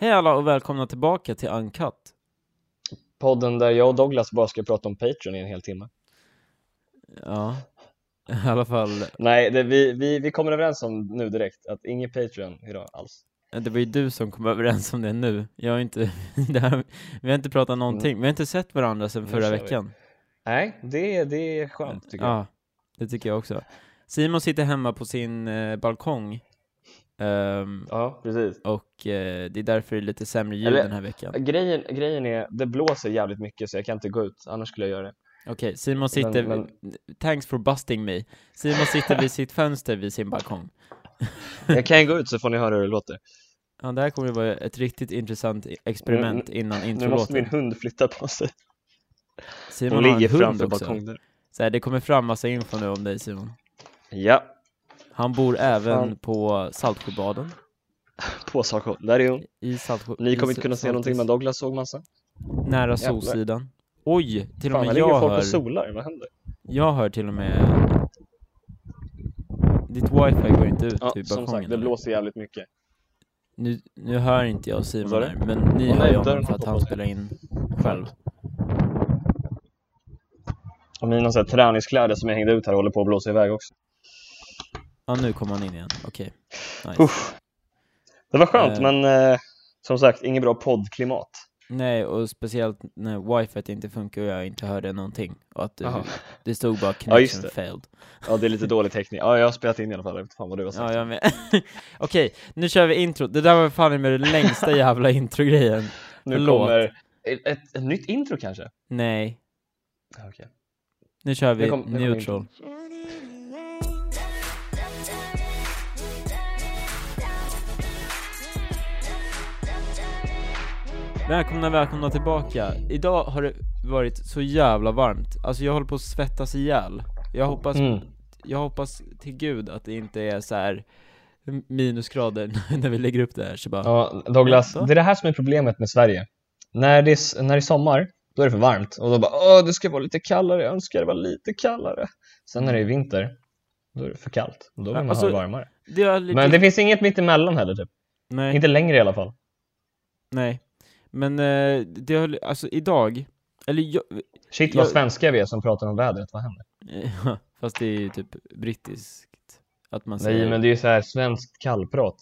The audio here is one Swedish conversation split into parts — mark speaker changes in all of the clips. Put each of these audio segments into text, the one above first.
Speaker 1: Hej alla och välkomna tillbaka till Uncut.
Speaker 2: Podden där jag och Douglas bara ska prata om Patreon i en hel timme.
Speaker 1: Ja, i alla fall.
Speaker 2: Nej, det, vi, vi, vi kommer överens om nu direkt att inget Patreon idag alls.
Speaker 1: Det var ju du som kom överens om det nu. Jag har inte, det här, vi har inte pratat någonting. Vi har inte sett varandra sedan
Speaker 2: Nu
Speaker 1: förra
Speaker 2: kör vi.
Speaker 1: veckan.
Speaker 2: Nej, det, det är skönt tycker jag.
Speaker 1: Ja, det tycker jag också. Simon sitter hemma på sin eh, balkong. Ehm,
Speaker 2: Ja, precis.
Speaker 1: och eh, det är därför det är lite sämre ljud
Speaker 2: Eller-
Speaker 1: den här veckan.
Speaker 2: Grejen, grejen är, det blåser jävligt mycket så jag kan inte gå ut, annars skulle jag göra det.
Speaker 1: Okej, Simon sitter...
Speaker 2: men-
Speaker 1: Thanks for busting me. Simon sitter vid sitt fönster vid sin balkong.
Speaker 2: Jag kan gå ut så får ni höra hur det låter.
Speaker 1: Ja, det här kommer att vara ett riktigt intressant i- experiment innan
Speaker 2: Nu måste
Speaker 1: introlåten.
Speaker 2: min hund flytta på sig.
Speaker 1: Simon
Speaker 2: Hon
Speaker 1: har
Speaker 2: ligger
Speaker 1: en hund
Speaker 2: framför
Speaker 1: också.
Speaker 2: balkongen.
Speaker 1: Så här, det kommer fram massa info nu om dig Simon.
Speaker 2: Ja,
Speaker 1: Han bor även
Speaker 2: Fan.
Speaker 1: på Saltsjöbaden.
Speaker 2: på Saco. Där är hon.
Speaker 1: I Saltsjö...
Speaker 2: Ni
Speaker 1: i
Speaker 2: kommer inte kunna se
Speaker 1: Saltis-
Speaker 2: någonting men Douglas såg massa.
Speaker 1: Nära
Speaker 2: Jävlar.
Speaker 1: Solsidan. Oj, till och
Speaker 2: Fan, här
Speaker 1: med jag
Speaker 2: ligger
Speaker 1: typ
Speaker 2: folk
Speaker 1: hör...
Speaker 2: och solar, vad händer?
Speaker 1: Jag hör till och med... Ditt wifi går inte ut
Speaker 2: Ja,
Speaker 1: till
Speaker 2: som
Speaker 1: balkongen.
Speaker 2: sagt, det
Speaker 1: eller?
Speaker 2: blåser jävligt mycket.
Speaker 1: Nu, nu hör inte jag Simon
Speaker 2: Vad sa
Speaker 1: här,
Speaker 2: du?
Speaker 1: men ni
Speaker 2: Åh,
Speaker 1: hör
Speaker 2: nej,
Speaker 1: ju honom
Speaker 2: dörren
Speaker 1: för att
Speaker 2: hoppar
Speaker 1: han
Speaker 2: på sig.
Speaker 1: spelar in själv.
Speaker 2: Mm. Och mina så här, träningskläder som jag hängde ut här håller på att blåsa iväg också.
Speaker 1: Ja, nu kommer han in igen. Okej. Nice.
Speaker 2: Uff. Det var skönt,
Speaker 1: Eh.
Speaker 2: men eh, som sagt, inget bra poddklimat.
Speaker 1: Nej, och speciellt när wifi inte funkar och jag inte hörde någonting. Och att du,
Speaker 2: Jaha.
Speaker 1: det stod bara
Speaker 2: Ja, just
Speaker 1: connection
Speaker 2: det.
Speaker 1: failed.
Speaker 2: Ja, det är lite dålig teknik. Ja, jag har spelat in i alla fall. Jag vet fan vad du har sagt.
Speaker 1: Ja, jag med. Okej, nu kör vi intro. Det där var fan med den längsta jävla introgrejen.
Speaker 2: nu
Speaker 1: förlåt.
Speaker 2: kommer ett, ett, ett nytt intro kanske.
Speaker 1: Nej,
Speaker 2: Ja, okej.
Speaker 1: nu kör vi
Speaker 2: Nu kom- nu kom
Speaker 1: neutral. Välkomna, välkomna tillbaka. Idag har det varit så jävla varmt. Alltså jag håller på att svettas ihjäl. Jag hoppas,
Speaker 2: Mm.
Speaker 1: jag hoppas till gud att det inte är så här minusgrader när vi lägger upp det här. Så bara,
Speaker 2: Ja, Douglas,
Speaker 1: Ja, så.
Speaker 2: det är det här som är problemet med Sverige. När det är, s- när det är sommar, då är det för varmt. Och då bara, åh, det ska vara lite kallare. Jag önskar det var lite kallare. Sen när det är vinter, då är det för kallt. Och Då vill man
Speaker 1: Alltså,
Speaker 2: ha det varmare.
Speaker 1: det är lite...
Speaker 2: Men det finns inget mitt emellan heller, typ.
Speaker 1: nej.
Speaker 2: Inte längre i alla fall.
Speaker 1: Nej, men eh, det har, alltså idag, eller jag,
Speaker 2: Shit vad
Speaker 1: Jag-
Speaker 2: svenska vi är som pratar om vädret, vad händer?
Speaker 1: fast det är ju typ brittiskt, att man säger...
Speaker 2: Nej men det är ju så här svenskt kallprat.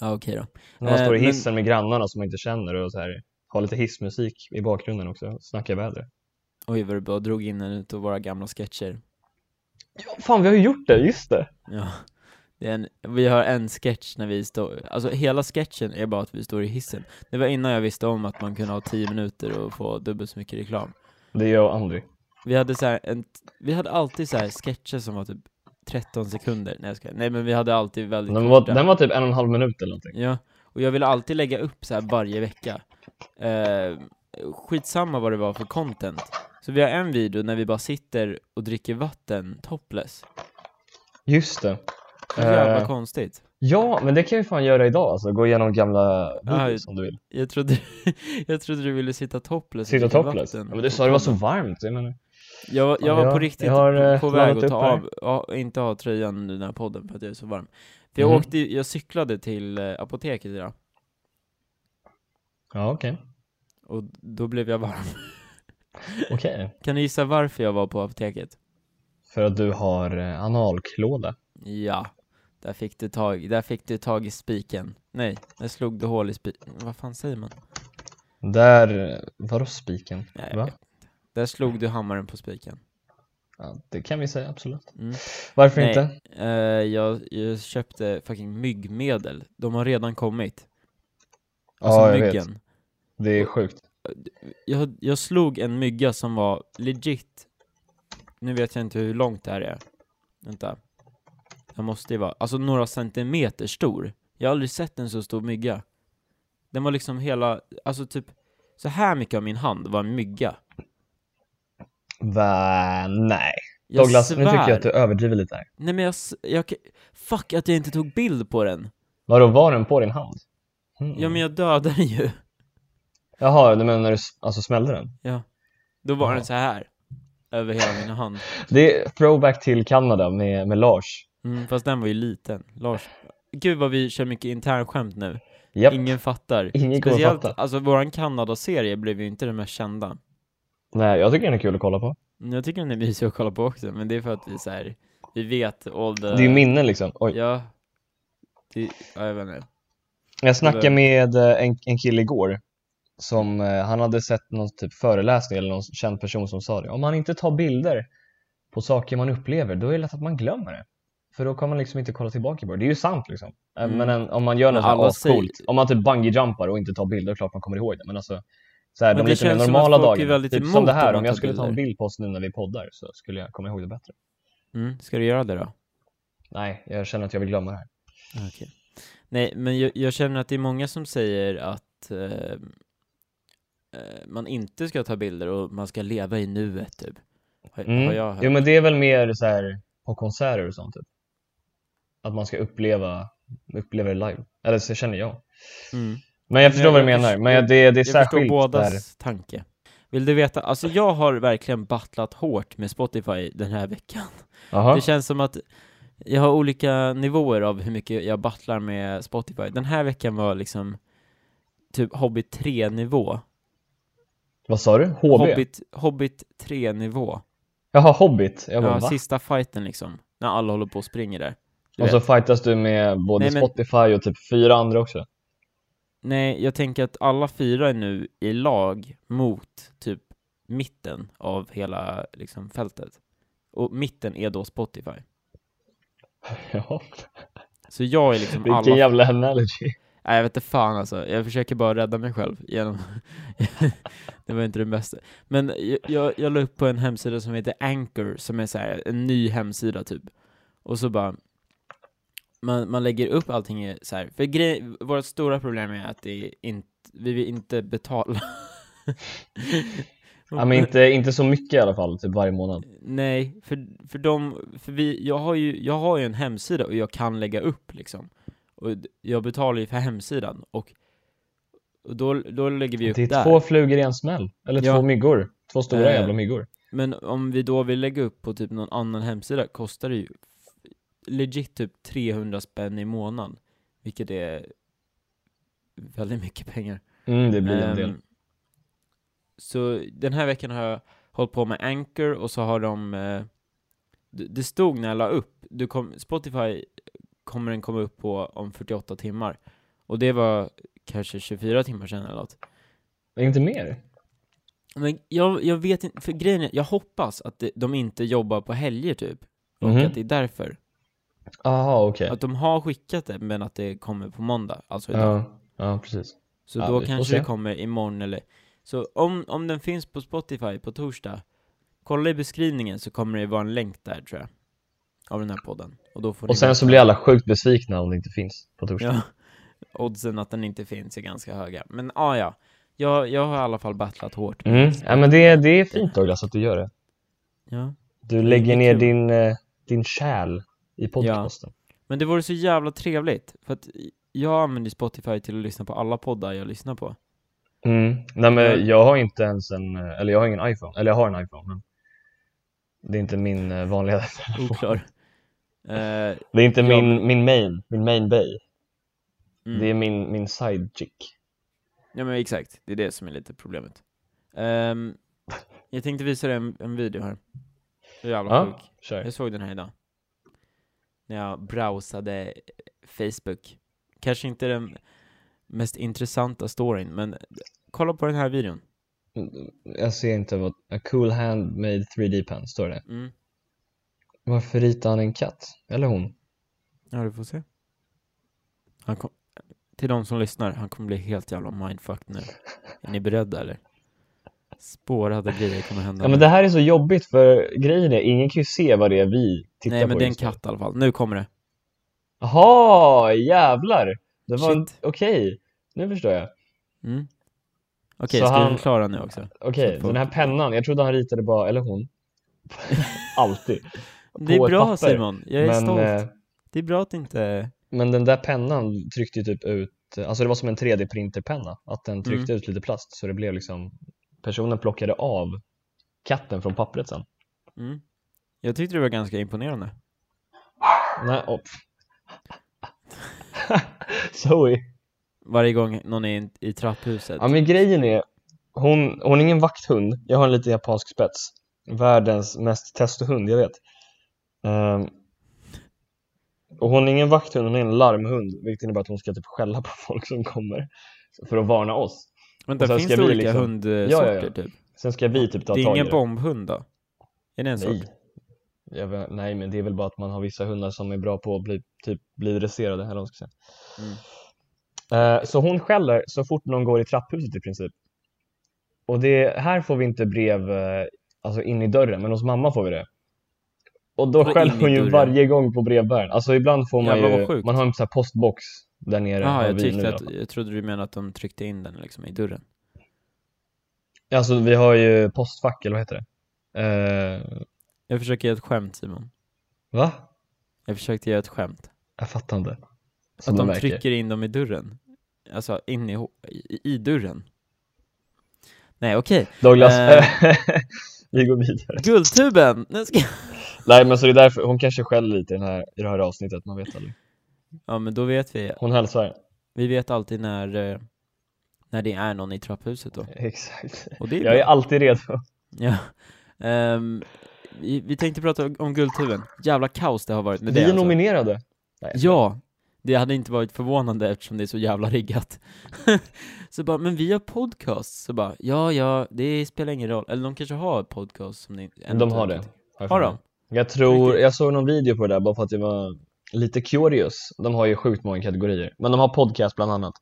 Speaker 1: Ja okej då.
Speaker 2: När man
Speaker 1: Eh,
Speaker 2: står i
Speaker 1: men-
Speaker 2: hissen med grannarna som man inte känner och så här har lite hissmusik i bakgrunden också och snackar väder.
Speaker 1: Oj vad du bara drog in en utav våra gamla sketcher.
Speaker 2: Ja, fan vi har ju gjort det, just det!
Speaker 1: Ja. Det är en, vi har en sketch när vi står, alltså hela sketchen är bara att vi står i hissen. Det var innan jag visste om att man kunde ha 10 minuter och få dubbelt så mycket reklam.
Speaker 2: Det är jag och Andy.
Speaker 1: Vi hade så här en, vi hade alltid så här sketcher som var typ 13 sekunder, nej jag skojar. Nej men vi hade alltid väldigt
Speaker 2: Den var,
Speaker 1: korta.
Speaker 2: den var typ en och en halv minut eller någonting.
Speaker 1: Ja, och jag ville alltid lägga upp så här varje vecka. Eh, skitsamma vad det var för content. Så vi har en video när vi bara sitter och dricker vatten topless.
Speaker 2: Just det.
Speaker 1: Så jävla
Speaker 2: Eh.
Speaker 1: konstigt.
Speaker 2: Ja, men det kan vi fan göra idag alltså. Gå igenom gamla
Speaker 1: Ja,
Speaker 2: videos om du vill.
Speaker 1: Jag trodde, jag trodde du ville sitta topless och
Speaker 2: Sitta
Speaker 1: dricka
Speaker 2: topless. Ja,
Speaker 1: vatten
Speaker 2: men du
Speaker 1: på
Speaker 2: sa det var så
Speaker 1: podden.
Speaker 2: varmt. Jag menar.
Speaker 1: Jag, var- jag
Speaker 2: Ja,
Speaker 1: var på
Speaker 2: jag-
Speaker 1: riktigt
Speaker 2: jag har, eh,
Speaker 1: på väg
Speaker 2: laddat
Speaker 1: att ta
Speaker 2: upp här.
Speaker 1: av, ja, inte ha tröjan nu den här podden för att jag är så varm. För jag
Speaker 2: Mhm.
Speaker 1: åkte, jag cyklade till eh, apoteket idag
Speaker 2: Ja, okej.
Speaker 1: och då blev jag varm.
Speaker 2: Okej.
Speaker 1: Kan du gissa varför jag var på apoteket?
Speaker 2: För att du har eh, analklåda.
Speaker 1: Ja, där fick du tag, där fick du tag i spiken. Nej, där slog du hål i spiken. Vad fan säger man?
Speaker 2: Där, eh, vadå spiken?
Speaker 1: Nej, jag
Speaker 2: Va?
Speaker 1: vet inte. Där slog du hammaren på spiken.
Speaker 2: Ja, det kan vi säga, absolut.
Speaker 1: Mm.
Speaker 2: Varför
Speaker 1: Nej.
Speaker 2: inte?
Speaker 1: Eh, jag, jag köpte fucking myggmedel. De har redan kommit. Alltså
Speaker 2: Ja, jag vet.
Speaker 1: myggen.
Speaker 2: Det är sjukt.
Speaker 1: Jag, jag slog en mygga som var legit. Nu vet jag inte hur långt det här är. Vänta. Den måste ju vara, alltså några centimeter stor. Jag har aldrig sett en så stor mygga. Den var liksom hela, alltså typ, så här mycket av min hand var en mygga.
Speaker 2: Va, nej.
Speaker 1: Jag
Speaker 2: Douglas,
Speaker 1: svär.
Speaker 2: nu tycker jag att du överdriver lite här.
Speaker 1: Nej men jag, s- jag, k- fuck att jag inte tog bild på den.
Speaker 2: Vadå, var den på din hand? Mm.
Speaker 1: Ja men jag dödade den ju.
Speaker 2: Jaha, du menar när du s- alltså, smällde den?
Speaker 1: Ja. Då var
Speaker 2: Ja.
Speaker 1: den så här. Över hela min hand.
Speaker 2: Det är throwback till Kanada med, med Lars.
Speaker 1: Mm, fast den var ju liten. Lars. Gud vad vi kör mycket internskämt nu.
Speaker 2: Japp.
Speaker 1: Ingen fattar.
Speaker 2: Ingen kommer
Speaker 1: Speciellt,
Speaker 2: fatta.
Speaker 1: alltså våran Kanada-serie blev ju inte den mest kända.
Speaker 2: Nej, jag tycker den är kul att kolla på.
Speaker 1: Men Jag tycker den är mysig att kolla på också, men det är för att vi så här, vi vet all the...
Speaker 2: Det är ju minnen liksom. Oj.
Speaker 1: Ja. Det, ja, jag vet inte.
Speaker 2: Jag snackade med eh, en, en kille igår som eh, han hade sett någon typ föreläsning eller någon känd person som sa det. Om man inte tar bilder på saker man upplever, då är det lätt att man glömmer det. För då kan man liksom inte kolla tillbaka på det. Det är ju sant liksom. Eh,
Speaker 1: Mm.
Speaker 2: Men en, om man gör något så här
Speaker 1: Alla säger-
Speaker 2: ascoolt, om man typ bungee-jumpar och inte tar bilder, klart man kommer ihåg det. Men alltså, så här,
Speaker 1: Men
Speaker 2: de
Speaker 1: det
Speaker 2: lite mer
Speaker 1: känns som att
Speaker 2: normala
Speaker 1: folk är
Speaker 2: dagarna.
Speaker 1: väldigt
Speaker 2: Typ som
Speaker 1: emot
Speaker 2: det
Speaker 1: om
Speaker 2: här,
Speaker 1: man
Speaker 2: om jag
Speaker 1: tar
Speaker 2: skulle ta en
Speaker 1: bilder.
Speaker 2: bild på oss nu när vi poddar så skulle jag komma ihåg det bättre.
Speaker 1: Mm, ska du göra det då? Ah,
Speaker 2: Nej, jag känner att jag vill glömma det här.
Speaker 1: Okej. Nej, men jag, jag känner att det är många som säger att eh, eh, man inte ska ta bilder och man ska leva i nuet, typ. Har, har
Speaker 2: Mm.
Speaker 1: jag hört.
Speaker 2: Jo men det är väl mer så här på konserter och sånt typ. Att man ska uppleva, uppleva det live. Eller så känner jag.
Speaker 1: Mm.
Speaker 2: Men jag
Speaker 1: Men
Speaker 2: förstår
Speaker 1: jag-
Speaker 2: vad du
Speaker 1: jag
Speaker 2: menar.
Speaker 1: förs-
Speaker 2: Men jag- det, det är
Speaker 1: Jag förstår
Speaker 2: särskilt
Speaker 1: bådas
Speaker 2: där.
Speaker 1: tanke. Vill du veta? Alltså jag har verkligen battlat hårt med Spotify den här veckan.
Speaker 2: Jaha.
Speaker 1: Det känns som att jag har olika nivåer av hur mycket jag battlar med Spotify. Den här veckan var liksom typ Hobbit 3-nivå.
Speaker 2: Vad sa du? HB?
Speaker 1: Hobbit, Hobbit 3-nivå.
Speaker 2: Jaha, Hobbit. Jag bara,
Speaker 1: Ja,
Speaker 2: va?
Speaker 1: sista fighten liksom. När alla håller på och springer där. Du
Speaker 2: Och
Speaker 1: vet.
Speaker 2: så fightas du med både
Speaker 1: Nej, men-
Speaker 2: Spotify och typ fyra andra också.
Speaker 1: Nej, jag tänker att alla fyra är nu i lag mot typ mitten av hela liksom, fältet. Och mitten är då Spotify.
Speaker 2: Jaha.
Speaker 1: Så jag är liksom
Speaker 2: Vilken
Speaker 1: alla...
Speaker 2: jävla analogy.
Speaker 1: Nej, jag vet inte fan alltså. Jag försöker bara rädda mig själv genom... det var inte det bästa. Men jag, jag, jag la upp på en hemsida som heter Anchor, som är så här, en ny hemsida typ. Och så bara... Man, man lägger upp allting i så här. För grej, vårt stora problem är att det är inte, vi vill inte betala.
Speaker 2: Ja, men inte, inte så mycket i alla fall, typ varje månad.
Speaker 1: Nej, för, för de, för vi, jag har ju, jag har ju en hemsida och jag kan lägga upp liksom. Och d- jag betalar ju för hemsidan och, och då, då lägger vi upp
Speaker 2: Det är
Speaker 1: där.
Speaker 2: två flugor i en smäll. Eller
Speaker 1: Ja.
Speaker 2: två myggor. Två stora
Speaker 1: Eh,
Speaker 2: jävla myggor.
Speaker 1: Men om vi då vill lägga upp på typ någon annan hemsida kostar det ju f- legit typ 300 spänn i månaden. Vilket är väldigt mycket pengar.
Speaker 2: Mm, det blir en
Speaker 1: Ehm,
Speaker 2: del.
Speaker 1: Så den här veckan har jag hållit på med Anchor och så har de eh, d- Det stod när jag la upp, du kom, Spotify kommer den komma upp på om 48 timmar Och det var kanske 24 timmar sedan eller något
Speaker 2: Inte mer?
Speaker 1: Men jag, jag vet inte, för grejen är, jag hoppas att det, de inte jobbar på helger typ Och
Speaker 2: Mhm.
Speaker 1: att det är därför
Speaker 2: Jaha, okej.
Speaker 1: Att de har skickat det men att det kommer på måndag, alltså idag
Speaker 2: Ja, ja, precis.
Speaker 1: Så
Speaker 2: Ja,
Speaker 1: då
Speaker 2: vi får
Speaker 1: kanske
Speaker 2: se.
Speaker 1: det kommer imorgon eller Så om, om den finns på Spotify på torsdag Kolla i beskrivningen så kommer det vara en länk där tror jag Av den här podden Och då får ni
Speaker 2: Och sen
Speaker 1: veta-
Speaker 2: så blir alla sjukt besvikna om det inte finns på torsdag.
Speaker 1: ja, Oddsen att den inte finns är ganska höga Men ah, ja, jag, jag har i alla fall battlat hårt
Speaker 2: Mm. Ja, men det, det är fint Douglas att du gör det.
Speaker 1: ja.
Speaker 2: Du
Speaker 1: är
Speaker 2: lägger ner
Speaker 1: kul.
Speaker 2: din, eh, din själ i podcasten.
Speaker 1: Men det vore så jävla trevligt För att jag använder Spotify till att lyssna på alla poddar jag lyssnar på
Speaker 2: Mm. Nej,
Speaker 1: Ja.
Speaker 2: men jag har inte ens en, eh, eller jag har ingen iPhone, eller jag har en iPhone men det är inte min eh, vanliga telefon.
Speaker 1: Oklar Eh,
Speaker 2: Det är inte
Speaker 1: Ja,
Speaker 2: min, min main, min main bay.
Speaker 1: mm.
Speaker 2: Det är min, min side chick.
Speaker 1: Ja men exakt, det är det som är lite problemet. Ehm, jag tänkte visa dig en, en video här. Hur jävla
Speaker 2: Ja,
Speaker 1: sjuk.
Speaker 2: kör.
Speaker 1: Jag såg den här idag. När jag browsade Facebook. Kanske inte den mest intressanta storyn, men kolla på den här videon.
Speaker 2: Jag ser inte vad, a cool handmade 3D pen, står det.
Speaker 1: Mm.
Speaker 2: Varför ritar han en katt? Eller hon?
Speaker 1: Ja, du får se. Han kom, till de som lyssnar, han kommer bli helt jävla mindfucked nu. Är ni beredda eller? Spårade grejer kommer hända.
Speaker 2: Ja men
Speaker 1: nu.
Speaker 2: det här är så jobbigt för grejen är, ingen kan ju se vad det är vi tittar
Speaker 1: Nej
Speaker 2: på
Speaker 1: men det är en
Speaker 2: just nu.
Speaker 1: katt i alla fall. Nu kommer det.
Speaker 2: Jaha, jävlar! Det var en...
Speaker 1: Shit.
Speaker 2: Okej, nu förstår jag.
Speaker 1: Mm. Okej,
Speaker 2: Så
Speaker 1: ska
Speaker 2: han-
Speaker 1: vi förklara nu också?
Speaker 2: Okej,
Speaker 1: Så folk-
Speaker 2: den här pennan, jag trodde han ritade bara, eller hon, alltid.
Speaker 1: Det är
Speaker 2: ett
Speaker 1: bra
Speaker 2: papper.
Speaker 1: Simon, jag är stolt.
Speaker 2: eh,
Speaker 1: Det är bra att inte...
Speaker 2: men den där pennan tryckte ju typ ut, alltså det var som en 3D-printerpenna, att den tryckte
Speaker 1: Mm.
Speaker 2: ut lite plast så det blev liksom, personen plockade av katten från pappret sen.
Speaker 1: Mm. Jag tyckte det var ganska imponerande.
Speaker 2: Nej, oh. Zoe,
Speaker 1: varje gång någon är in, i trapphuset.
Speaker 2: Ja men grejen är, hon, hon är ingen vakthund, jag har en liten japansk spets. Världens mest testohund, jag vet. Ehm, och hon är ingen vakthund, hon är en larmhund, vilket innebär att hon ska typ skälla på folk som kommer för att varna oss.
Speaker 1: Vänta,
Speaker 2: och sen
Speaker 1: finns
Speaker 2: ska
Speaker 1: det
Speaker 2: vi
Speaker 1: olika
Speaker 2: liksom-
Speaker 1: hundsorter
Speaker 2: Ja, ja, ja.
Speaker 1: typ?
Speaker 2: Sen ska vi typ ta
Speaker 1: Det är
Speaker 2: tag i
Speaker 1: ingen
Speaker 2: det.
Speaker 1: bombhund då? Är det en sort?
Speaker 2: Nej. Jag vet, nej, men det är väl bara att man har vissa hundar som är bra på att bli, typ, bli dresserade. Eller vad man ska säga.
Speaker 1: Mm.
Speaker 2: Eh, så hon skäller så fort någon går i trapphuset i princip. Och det, här får vi inte brev eh, alltså in i dörren, men hos mamma får vi det. Och då
Speaker 1: Vadå
Speaker 2: skäller
Speaker 1: in i
Speaker 2: hon ju
Speaker 1: dörren?
Speaker 2: varje gång på brevbäraren. Alltså ibland får man
Speaker 1: Jävlar, vad
Speaker 2: ju,
Speaker 1: sjukt.
Speaker 2: man har en sån här postbox där nere. har
Speaker 1: Jaha, jag,
Speaker 2: vi nu
Speaker 1: tyckte
Speaker 2: då.
Speaker 1: att, jag trodde du menade att de tryckte in den liksom i dörren.
Speaker 2: Alltså vi har ju postfack, eller vad heter det? Eh,
Speaker 1: Jag försöker göra ett skämt Simon.
Speaker 2: va?
Speaker 1: Jag försökte göra ett skämt.
Speaker 2: Jag fattar inte. Som
Speaker 1: Att de
Speaker 2: man märker.
Speaker 1: trycker in dem i dörren. Alltså in i, ho- i, i dörren. Nej okej,
Speaker 2: Douglas,
Speaker 1: Eh.
Speaker 2: vi går vidare.
Speaker 1: Guldtuben! Nu ska jag...
Speaker 2: Nej men så det är därför, hon kanske skäller lite i, den här, i det här avsnittet, man vet aldrig.
Speaker 1: Ja men då vet vi.
Speaker 2: Hon hälsar.
Speaker 1: Vi vet alltid när, eh, när det är någon i trapphuset då.
Speaker 2: Exakt.
Speaker 1: Och det är
Speaker 2: Jag är
Speaker 1: bra.
Speaker 2: alltid redo.
Speaker 1: Ja. Ehm, vi, vi tänkte prata om Guldtuben. Jävla kaos det har varit med
Speaker 2: Vi
Speaker 1: det
Speaker 2: är
Speaker 1: alltså.
Speaker 2: nominerade.
Speaker 1: Ja, det hade inte varit förvånande eftersom det är så jävla riggat. så bara, men vi har podcast. Så bara, ja, ja, det spelar ingen roll. Eller de kanske har podcast som ni ändå
Speaker 2: De har
Speaker 1: inte-
Speaker 2: det.
Speaker 1: Har
Speaker 2: jag för
Speaker 1: de?
Speaker 2: mig. Jag tror,
Speaker 1: Riktigt.
Speaker 2: jag såg någon video på det där bara för att jag var lite curious. De har ju sjukt många kategorier. Men de har podcast bland annat.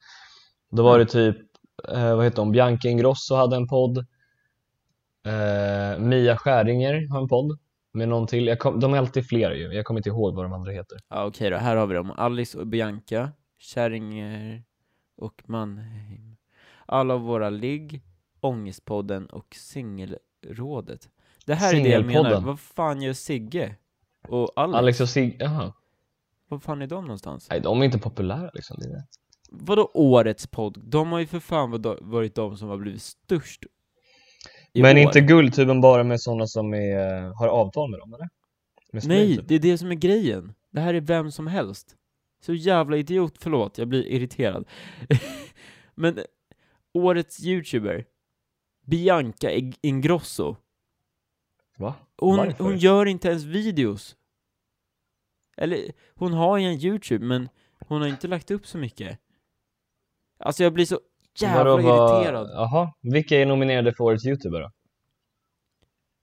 Speaker 2: Då var det
Speaker 1: Mm.
Speaker 2: typ, eh, vad heter hon, Bianca Ingrosso hade en podd. Eh, Mia Skäringer har en podd. Med någon till. Jag kom, de är alltid fler ju. Jag kommer inte ihåg vad de andra heter.
Speaker 1: Ja, okej då, här har vi dem. Alice och Bianca, Kärringer och Mannheim. Alla våra ligg, Ångestpodden och Singelrådet. Det här är det jag menar.
Speaker 2: Singelpodden.
Speaker 1: Vad fan gör Sigge? Och Alex?
Speaker 2: Alex och Sig... Jaha.
Speaker 1: Vad fan är de någonstans?
Speaker 2: Nej, de är inte populära liksom. Det är det.
Speaker 1: Vadå årets podd? De har ju för fan vad- varit de som har blivit störst i
Speaker 2: Men
Speaker 1: år.
Speaker 2: inte Guldtuben bara med sådana som är, eh, har avtal med dem eller? Med Spring,
Speaker 1: Nej,
Speaker 2: typ.
Speaker 1: det är det som är grejen. Det här är vem som helst. Så jävla idiot, förlåt, jag blir irriterad. Men eh, årets youtuber, Bianca Ig- Ingrosso,
Speaker 2: Va?
Speaker 1: hon,
Speaker 2: Varför?
Speaker 1: hon gör inte ens videos. Eller, hon har ju en youtube, men hon har inte lagt upp så mycket. Alltså jag blir så jävla
Speaker 2: Vadå, vad-
Speaker 1: irriterad.
Speaker 2: Jaha, vilka är nominerade för årets youtuber då?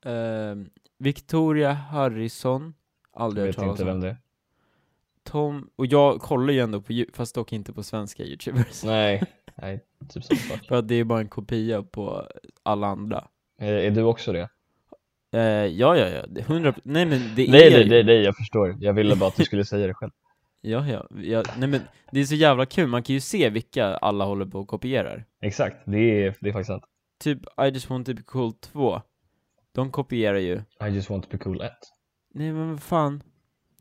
Speaker 1: Eh, Victoria Harrison,
Speaker 2: Jag
Speaker 1: aldrig hört
Speaker 2: vet
Speaker 1: talas
Speaker 2: inte
Speaker 1: om.
Speaker 2: vem det är.
Speaker 1: Tom, och jag kollar ju ändå på, Yo- fast dock inte på svenska youtubers.
Speaker 2: Nej, nej, typ samma sak.
Speaker 1: För att det är bara en kopia på alla andra.
Speaker 2: Är, är du också det?
Speaker 1: Eh, ja, ja, ja, det- 100 nej men det
Speaker 2: Nej,
Speaker 1: är
Speaker 2: nej,
Speaker 1: ju-
Speaker 2: nej, nej, jag förstår. Jag ville bara att du skulle säga det själv.
Speaker 1: Ja, ja, ja, nej men det är så jävla kul, man kan ju se vilka alla håller på och kopierar.
Speaker 2: Exakt, det är, det är faktiskt sant.
Speaker 1: Typ I just want to be cool 2, de kopierar ju.
Speaker 2: I just want to be cool 1.
Speaker 1: Nej men vad fan.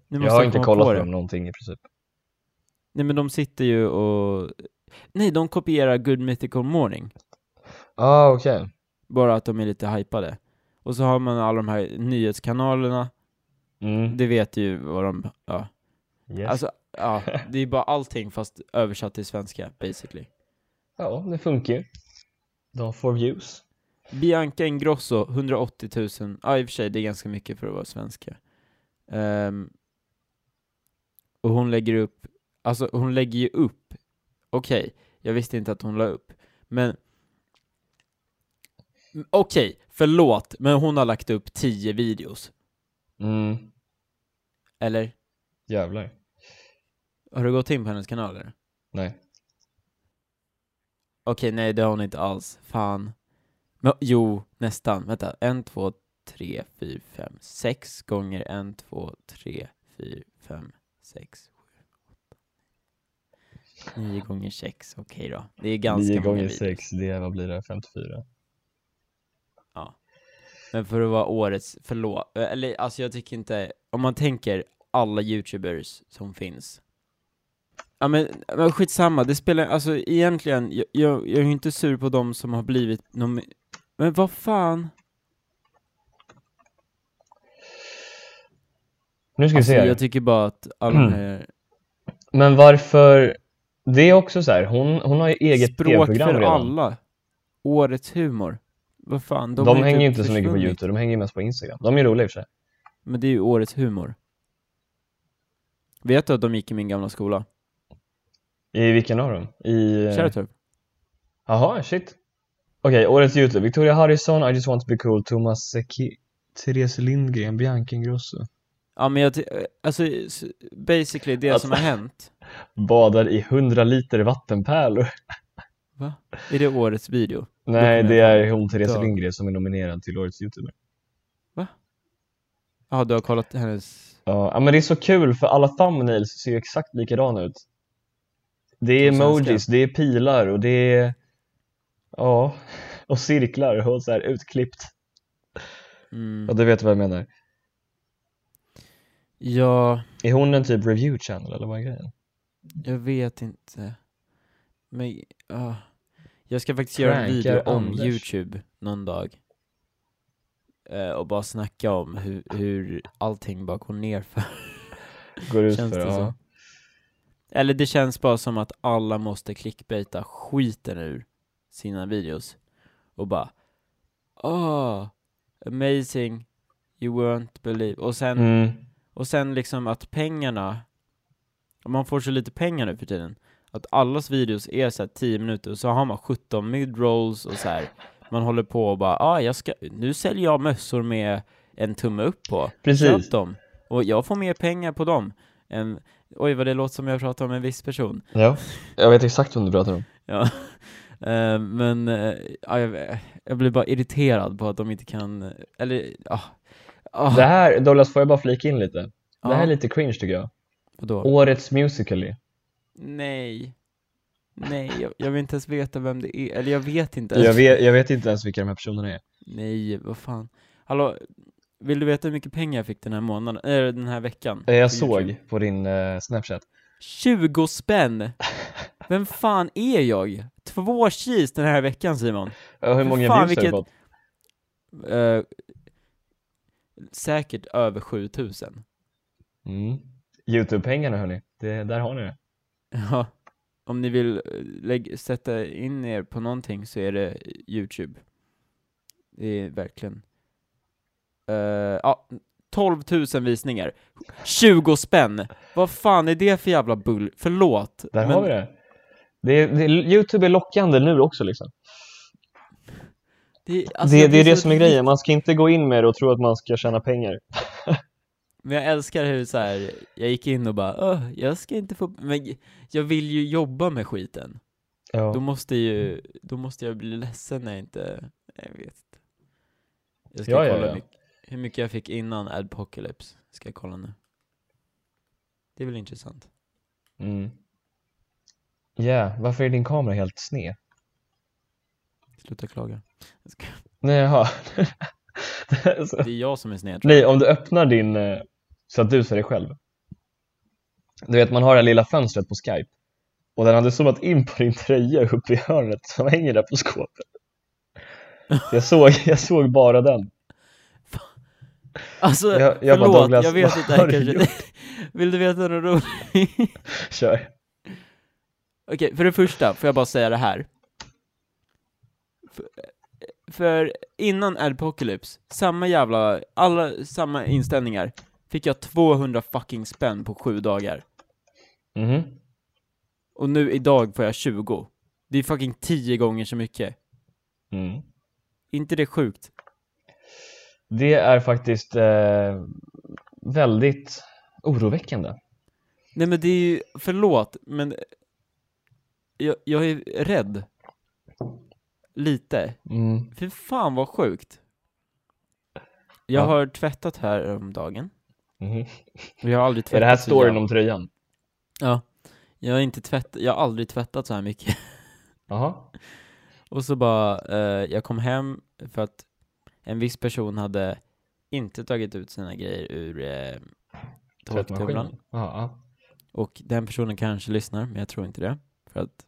Speaker 1: Nu
Speaker 2: Jag har inte
Speaker 1: komma
Speaker 2: kollat
Speaker 1: på
Speaker 2: på
Speaker 1: det.
Speaker 2: dem någonting i princip.
Speaker 1: Nej men de sitter ju och, nej de kopierar Good Mythical Morning.
Speaker 2: Ah, okej.
Speaker 1: Bara att de är lite hypade. Och så har man alla de här nyhetskanalerna,
Speaker 2: Mm.
Speaker 1: det vet ju vad de, ja.
Speaker 2: Yes.
Speaker 1: Alltså, ja, det är bara allting fast översatt till svenska basically.
Speaker 2: ja, det funkar ju. De får views.
Speaker 1: Bianca Ingrosso, 180 000, ja i och för sig det är ganska mycket för att vara svenska. Ehm, och hon lägger upp, alltså hon lägger ju upp, okej, jag visste inte att hon la upp, men M- Okej, förlåt, men hon har lagt upp 10 videos,
Speaker 2: Mm,
Speaker 1: eller?
Speaker 2: jävlar.
Speaker 1: Har du gått in på hennes kanal eller?
Speaker 2: Nej.
Speaker 1: Okej, nej det har hon inte alls. Fan. Men, jo, nästan. Vänta. En, två, tre, fyra, fem, sex gånger en, två, tre, fyra, fem, sex, sju, åtta, nio gånger sex. Okej då. Det är ganska
Speaker 2: 9
Speaker 1: många
Speaker 2: gånger
Speaker 1: videos.
Speaker 2: 6, det är, vad blir det? 54?
Speaker 1: Men för att vara årets, förlåt, eller alltså jag tycker inte, om man tänker alla youtubers som finns Ja men, men skitsamma, det spelar, alltså egentligen, jag, jag, jag är ju inte sur på de som har blivit nomi- Men vad fan?
Speaker 2: Nu ska vi
Speaker 1: Alltså,
Speaker 2: se. här. Mm.
Speaker 1: jag tycker bara att alla de här,
Speaker 2: Men varför Det är också så här, hon, hon har ju eget
Speaker 1: Språk för
Speaker 2: tv-program redan.
Speaker 1: alla. Årets humor. Vad fan,
Speaker 2: De,
Speaker 1: har ju
Speaker 2: hänger ju
Speaker 1: typ
Speaker 2: inte så mycket på
Speaker 1: försvunnit.
Speaker 2: YouTube, de hänger ju mest på Instagram. De är ju roliga i och för sig.
Speaker 1: Men det är ju årets humor. Vet du att de gick i min gamla skola?
Speaker 2: I vilken av dem? I... eh,
Speaker 1: Kärrtorp?
Speaker 2: Jaha, shit. Okej, årets YouTube. Victoria Harrison, I just want to be cool, Thomas Seki, Therese Lindgren, Bianca Ingrosso.
Speaker 1: Ja men jag, ty- eh, alltså s- basically det
Speaker 2: Alltså-
Speaker 1: som har hänt,
Speaker 2: Badar i 100 liter vattenpärlor.
Speaker 1: va? Är det årets video?
Speaker 2: Nej,
Speaker 1: kommer
Speaker 2: det
Speaker 1: jag
Speaker 2: är hon Therese
Speaker 1: dö.
Speaker 2: Lindgren som är nominerad till årets YouTuber.
Speaker 1: Ja, du har kollat hennes...
Speaker 2: Ja, ja, men det är så kul för alla thumbnails ser ju exakt likadana ut. Det är
Speaker 1: På svenska.
Speaker 2: emojis, det är pilar och det är... Ja, och cirklar och så här utklippt.
Speaker 1: Mm.
Speaker 2: Ja, du vet vad jag menar.
Speaker 1: Ja,
Speaker 2: Är hon en typ review channel eller vad är grejen?
Speaker 1: jag vet inte. Men, ja. Jag ska faktiskt göra en
Speaker 2: Prankar
Speaker 1: video om
Speaker 2: Anders.
Speaker 1: YouTube någon dag. Eh, och bara snacka om hur, hur allting bara går ner för
Speaker 2: Går ut
Speaker 1: Känns
Speaker 2: för,
Speaker 1: det
Speaker 2: ja.
Speaker 1: så? Eller det känns bara som att alla måste clickbaita skiten ur sina videos och bara Åh, amazing, you won't believe. Och sen,
Speaker 2: Mm.
Speaker 1: och sen liksom att pengarna, man får så lite pengar nu för tiden, att allas videos är såhär 10 minuter och så har man 17 midrolls och så här. man håller på och bara ah, jag ska, nu säljer jag mössor med en tumme upp på.
Speaker 2: Precis.
Speaker 1: Köp dem. Och jag får mer pengar på dem. Än, oj, vad det låter som jag pratar om en viss person.
Speaker 2: Ja. Jag vet exakt vem du pratar om.
Speaker 1: Ja. Eh, men eh, ja, jag, jag blir bara irriterad på att de inte kan, eller ja. Ah,
Speaker 2: Det här, Douglas, får jag bara flika in lite? Det här
Speaker 1: ja,
Speaker 2: är lite cringe tycker jag.
Speaker 1: vadå?
Speaker 2: Årets musical.ly.
Speaker 1: Nej. Nej, jag, jag vill inte ens veta vem det är. Eller jag vet inte ens.
Speaker 2: Jag vet, jag vet inte ens vilka de här personerna är.
Speaker 1: Nej, vad fan. Hallå, vill du veta hur mycket pengar jag fick den här månaden, eller den här veckan?
Speaker 2: Eh, Jag
Speaker 1: på YouTube?
Speaker 2: såg på din eh, Snapchat.
Speaker 1: 20 spänn! Vem fan är jag? Två kis den här veckan Simon.
Speaker 2: Ja, hur
Speaker 1: Fy
Speaker 2: många
Speaker 1: fan,
Speaker 2: views har
Speaker 1: vilket-
Speaker 2: du fått?
Speaker 1: Eh, säkert över 7000.
Speaker 2: Mm. Youtube-pengarna hörni, det, där har ni det.
Speaker 1: Ja. Om ni vill eh, lägg, sätta in er på någonting så är det Youtube. Det är verkligen... Eh, ja, 12 000 visningar. 20 spänn! Vad fan är det för jävla bull? Förlåt.
Speaker 2: Där har vi det. det, är- det är- Youtube är lockande nu också liksom.
Speaker 1: det, alltså,
Speaker 2: det, det är
Speaker 1: så
Speaker 2: det som är grejen, man ska inte gå in med det och tro att man ska tjäna pengar.
Speaker 1: Men jag älskar hur så här, jag gick in och bara "Åh, jag ska inte få, men jag vill ju jobba med skiten. Då
Speaker 2: Ja,
Speaker 1: måste ju, då måste jag bli ledsen när jag inte, jag vet inte. Jag ska
Speaker 2: Ja, ja,
Speaker 1: kolla
Speaker 2: ja.
Speaker 1: Hur, mycket, hur mycket jag fick innan Adpocalypse, ska jag kolla nu. Det är väl intressant.
Speaker 2: mm. yeah. varför är din kamera helt sned?
Speaker 1: Sluta klaga. Jag ska-
Speaker 2: Nej, jaha. Det är så-
Speaker 1: Det är jag som är sned tror
Speaker 2: Nej, om du öppnar din eh, så att du ser dig själv. Du vet, man har det här lilla fönstret på Skype. Och den hade zoomat in på din tröja uppe i hörnet som hänger där på skåpet. Jag såg, jag såg bara den.
Speaker 1: jag. Alltså,
Speaker 2: Jag- jag bara,
Speaker 1: förlåt,
Speaker 2: Douglas,
Speaker 1: jag
Speaker 2: vad
Speaker 1: vet inte,
Speaker 2: har du
Speaker 1: kanske, vill du veta något roligt?
Speaker 2: Kör.
Speaker 1: Okej, för det första får jag bara säga det här. För, för innan Adpocalypse, samma jävla, alla samma inställningar, fick jag 200 fucking spänn på sju dagar.
Speaker 2: Mhm.
Speaker 1: Och nu idag får jag 20. Det är fucking 10 gånger så mycket.
Speaker 2: Mm.
Speaker 1: inte det sjukt?
Speaker 2: Det är faktiskt eh, väldigt oroväckande.
Speaker 1: Nej men det är ju, förlåt, men jag, jag är rädd. Lite.
Speaker 2: Mm.
Speaker 1: Fy fan vad sjukt. Jag
Speaker 2: Ja.
Speaker 1: har tvättat här om dagen. Jag har aldrig tvättat
Speaker 2: Är Mhm. det här
Speaker 1: så
Speaker 2: storyn
Speaker 1: jävla-
Speaker 2: om tröjan?
Speaker 1: Ja. Jag har inte tvättat, jag har aldrig tvättat så här mycket.
Speaker 2: Jaha.
Speaker 1: Och så bara, eh, jag kom hem för att en viss person hade inte tagit ut sina grejer ur eh, torktumlaren.
Speaker 2: Tvättmaskinen? Ja.
Speaker 1: Och den personen kanske lyssnar, men jag tror inte det. För att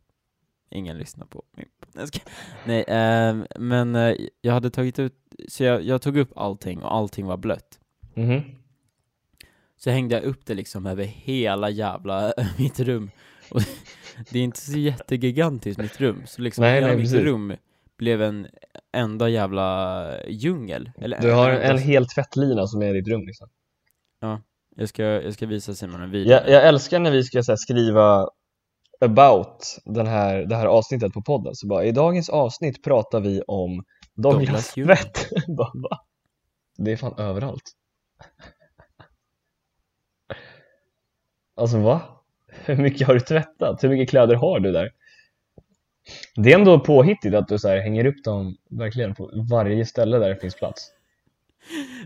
Speaker 1: ingen lyssnar på min Nej, jag skojar. Nej, ehm, men eh, jag hade tagit ut, så jag, jag tog upp allting och allting var blött.
Speaker 2: Mhm.
Speaker 1: Så hängde jag upp det liksom över hela jävla mitt rum. Och det är inte så jättegigantiskt mitt rum, så liksom
Speaker 2: Nej,
Speaker 1: hela
Speaker 2: nej,
Speaker 1: mitt
Speaker 2: precis.
Speaker 1: rum blev en enda jävla djungel. Eller
Speaker 2: Du har en,
Speaker 1: enda-
Speaker 2: en hel tvättlina som är i ditt rum liksom.
Speaker 1: jag, ska, jag ska visa Simon en video.
Speaker 2: Jag, jag älskar när vi ska så här, skriva about den här, det här avsnittet på podden. Så bara, i dagens avsnitt pratar vi om Douglas
Speaker 1: Douglas Junior."
Speaker 2: tvätt. Bara, va? det är fan överallt. Alltså va? Hur mycket har du tvättat? Hur mycket kläder har du där? Det är ändå påhittigt att du så här, hänger upp dem verkligen på varje ställe där det finns plats.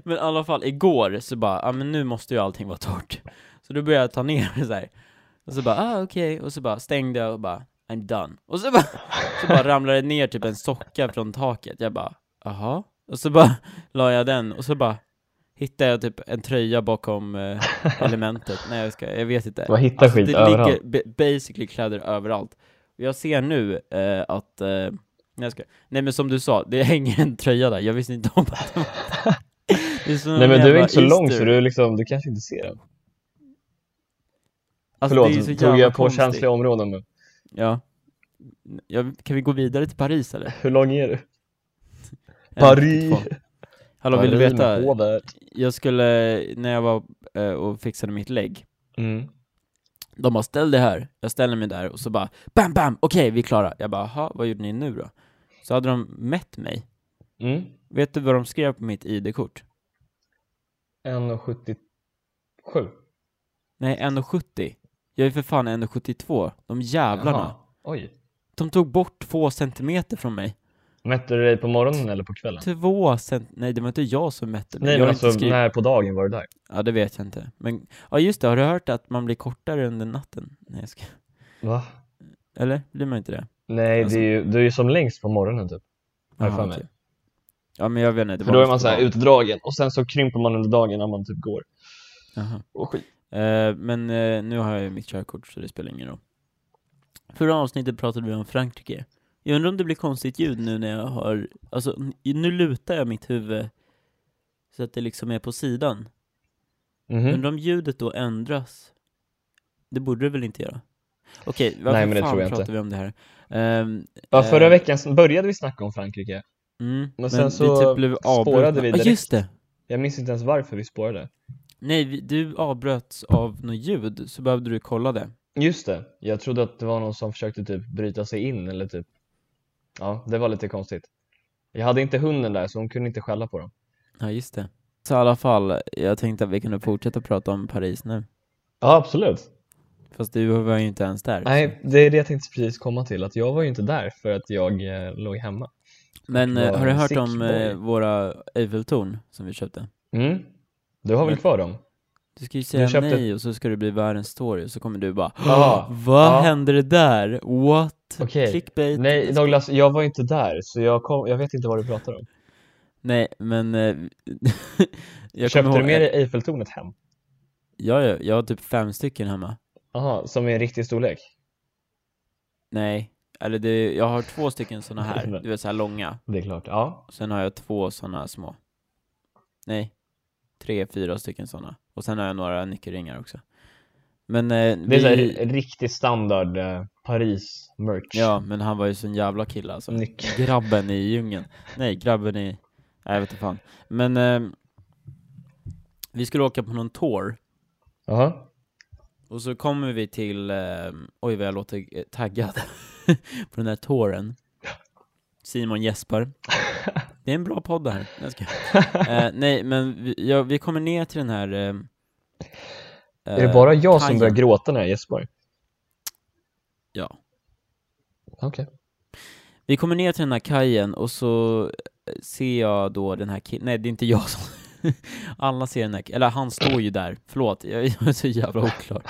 Speaker 1: Men i alla fall, igår så bara, ja ah, men nu måste ju allting vara torrt. Så då började jag ta ner det så här. Och så bara, ah okej, och så bara stängde jag och bara, I'm done. Och så bara, så bara ramlade det ner typ en socka från taket. Jag bara, jaha? Och så bara la jag den, och så bara hittade jag typ en tröja bakom eh, elementet. Nej jag ska, jag vet inte.
Speaker 2: Man hittar
Speaker 1: Alltså,
Speaker 2: skit
Speaker 1: det
Speaker 2: överallt.
Speaker 1: ligger ba- basically kläder överallt. Och jag ser nu eh, att, eh, nej, jag ska, nej men som du sa, det hänger en tröja där, jag visste inte om att det var det. är som
Speaker 2: Nej
Speaker 1: en
Speaker 2: men du är
Speaker 1: jävla
Speaker 2: inte så lång så
Speaker 1: Easter.
Speaker 2: du, liksom, du kanske inte ser den.
Speaker 1: Alltså, det är ju så
Speaker 2: Förlåt, tog
Speaker 1: jävla
Speaker 2: jag på
Speaker 1: konstigt.
Speaker 2: känsliga områden nu?
Speaker 1: Ja. ja. Kan vi gå vidare till Paris eller?
Speaker 2: Hur lång är du?
Speaker 1: Eller
Speaker 2: Paris.
Speaker 1: två. Hallå, vill du
Speaker 2: Paris
Speaker 1: veta?
Speaker 2: med hovet.
Speaker 1: Jag skulle, när jag var eh, och fixade mitt lägg,
Speaker 2: Mm.
Speaker 1: de bara ställ dig här, jag ställer mig där och så bara bam bam, okej vi är klara. Jag bara aha, vad gjorde ni nu då? Så hade de mätt mig.
Speaker 2: Mm.
Speaker 1: Vet du vad de skrev på mitt ID-kort?
Speaker 2: 1,77.
Speaker 1: Nej, 1,70. Jag är för fan 1,72. De jävlarna.
Speaker 2: Jaha. Oj.
Speaker 1: De tog bort två centimeter från mig.
Speaker 2: Mätte du dig på morgonen eller på kvällen?
Speaker 1: Två cent... Nej, det var inte jag som mätte mig.
Speaker 2: Nej
Speaker 1: jag
Speaker 2: men
Speaker 1: har
Speaker 2: alltså
Speaker 1: inte skrivit...
Speaker 2: när på dagen var du där?
Speaker 1: Ja, det vet jag inte. Men, ja just det, har du hört att man blir kortare under natten? Nej, jag ska...
Speaker 2: Va?
Speaker 1: Eller? Blir man inte det?
Speaker 2: Nej
Speaker 1: Alltså-
Speaker 2: det är ju, du är ju som längst på morgonen typ. Har jag
Speaker 1: Jaha,
Speaker 2: för mig.
Speaker 1: okej. Ja, men jag vet inte. det
Speaker 2: För
Speaker 1: var
Speaker 2: då är
Speaker 1: något
Speaker 2: man så här
Speaker 1: bra.
Speaker 2: utdragen och sen så krymper man under dagen när man typ går.
Speaker 1: Jaha.
Speaker 2: Och skit.
Speaker 1: Eh, men eh, nu har jag ju mitt körkort, så det spelar ingen roll. Förra avsnittet pratade vi om Frankrike. Jag undrar om det blir konstigt ljud nu när jag har... Alltså, n- nu lutar jag mitt huvud så att det liksom är på sidan.
Speaker 2: Mhm.
Speaker 1: Undrar om ljudet då ändras? Det borde det väl inte göra? Okej, varför
Speaker 2: Nej, men det
Speaker 1: fan
Speaker 2: tror jag
Speaker 1: pratar
Speaker 2: inte.
Speaker 1: vi om det här? Ehm,
Speaker 2: Ja,
Speaker 1: eh,
Speaker 2: förra veckan så började vi snacka om Frankrike.
Speaker 1: mm, men
Speaker 2: sen så
Speaker 1: vi typ blev
Speaker 2: spårade
Speaker 1: avbrutna.
Speaker 2: vi
Speaker 1: Ah,
Speaker 2: direkt.
Speaker 1: just det!
Speaker 2: Jag minns inte ens varför vi spårade.
Speaker 1: Nej, vi, du avbröts av något ljud, så behövde du kolla det.
Speaker 2: Just det, jag trodde att det var någon som försökte typ bryta sig in eller typ Ja, det var lite konstigt Jag hade inte hunden där så hon kunde inte skälla på dem
Speaker 1: Ja, just det. Så i alla fall, jag tänkte att vi kunde fortsätta prata om Paris nu.
Speaker 2: Ja, absolut
Speaker 1: Fast du var ju inte ens där.
Speaker 2: Nej, det är det jag tänkte precis komma till att jag var ju inte där för att jag eh, låg hemma
Speaker 1: Men eh, har du hört om
Speaker 2: Sick boy.
Speaker 1: eh, våra Eiffeltorn som vi köpte?
Speaker 2: Mm, du har väl
Speaker 1: Men-
Speaker 2: kvar dem?
Speaker 1: Du ska ju säga
Speaker 2: köpte-
Speaker 1: nej och så ska det bli världens story och så kommer du bara
Speaker 2: Ja,
Speaker 1: Vad
Speaker 2: ja.
Speaker 1: hände det där? What?
Speaker 2: Okej.
Speaker 1: Clickbait?
Speaker 2: Nej Douglas, jag var ju inte där så jag, kom, jag vet inte vad du pratar om
Speaker 1: Nej, men... eh, jag
Speaker 2: Köpte
Speaker 1: kommer
Speaker 2: du
Speaker 1: ihåg-
Speaker 2: med dig Eiffeltornet hem?
Speaker 1: Ja, ja, jag har typ fem stycken hemma.
Speaker 2: Jaha, som är en riktig storlek?
Speaker 1: Nej, eller det, jag har två stycken såna här, du vet så här långa.
Speaker 2: Det är klart, ja
Speaker 1: Och sen har jag två såna små. Nej, tre, fyra stycken såna. Och sen har jag några nyckelringar också. Men eh,
Speaker 2: Det är så
Speaker 1: vi...
Speaker 2: här, en riktig standard eh, Paris-merch
Speaker 1: Ja, men han var ju sån jävla kille alltså.
Speaker 2: Nyckel
Speaker 1: Grabben i djungeln. Nej, grabben i... Nej, jag vet inte fan. Men eh, vi skulle åka på någon tour.
Speaker 2: Jaha
Speaker 1: Och så kommer vi till... Eh, oj, vad jag låter eh, taggad på den här touren. Simon Jesper. Det är en bra podd det här. Nej, jag skojar. eh, nej men vi, ja, vi kommer ner till den här... Eh,
Speaker 2: Är det bara jag som
Speaker 1: kajen.
Speaker 2: börjar gråta när jag gäspar?
Speaker 1: Ja.
Speaker 2: Okej.
Speaker 1: Vi kommer ner till den här kajen och så eh, ser jag då den här killen, nej det är inte jag som alla ser den här, ki- eller han står ju där, förlåt, jag är så jävla oklar.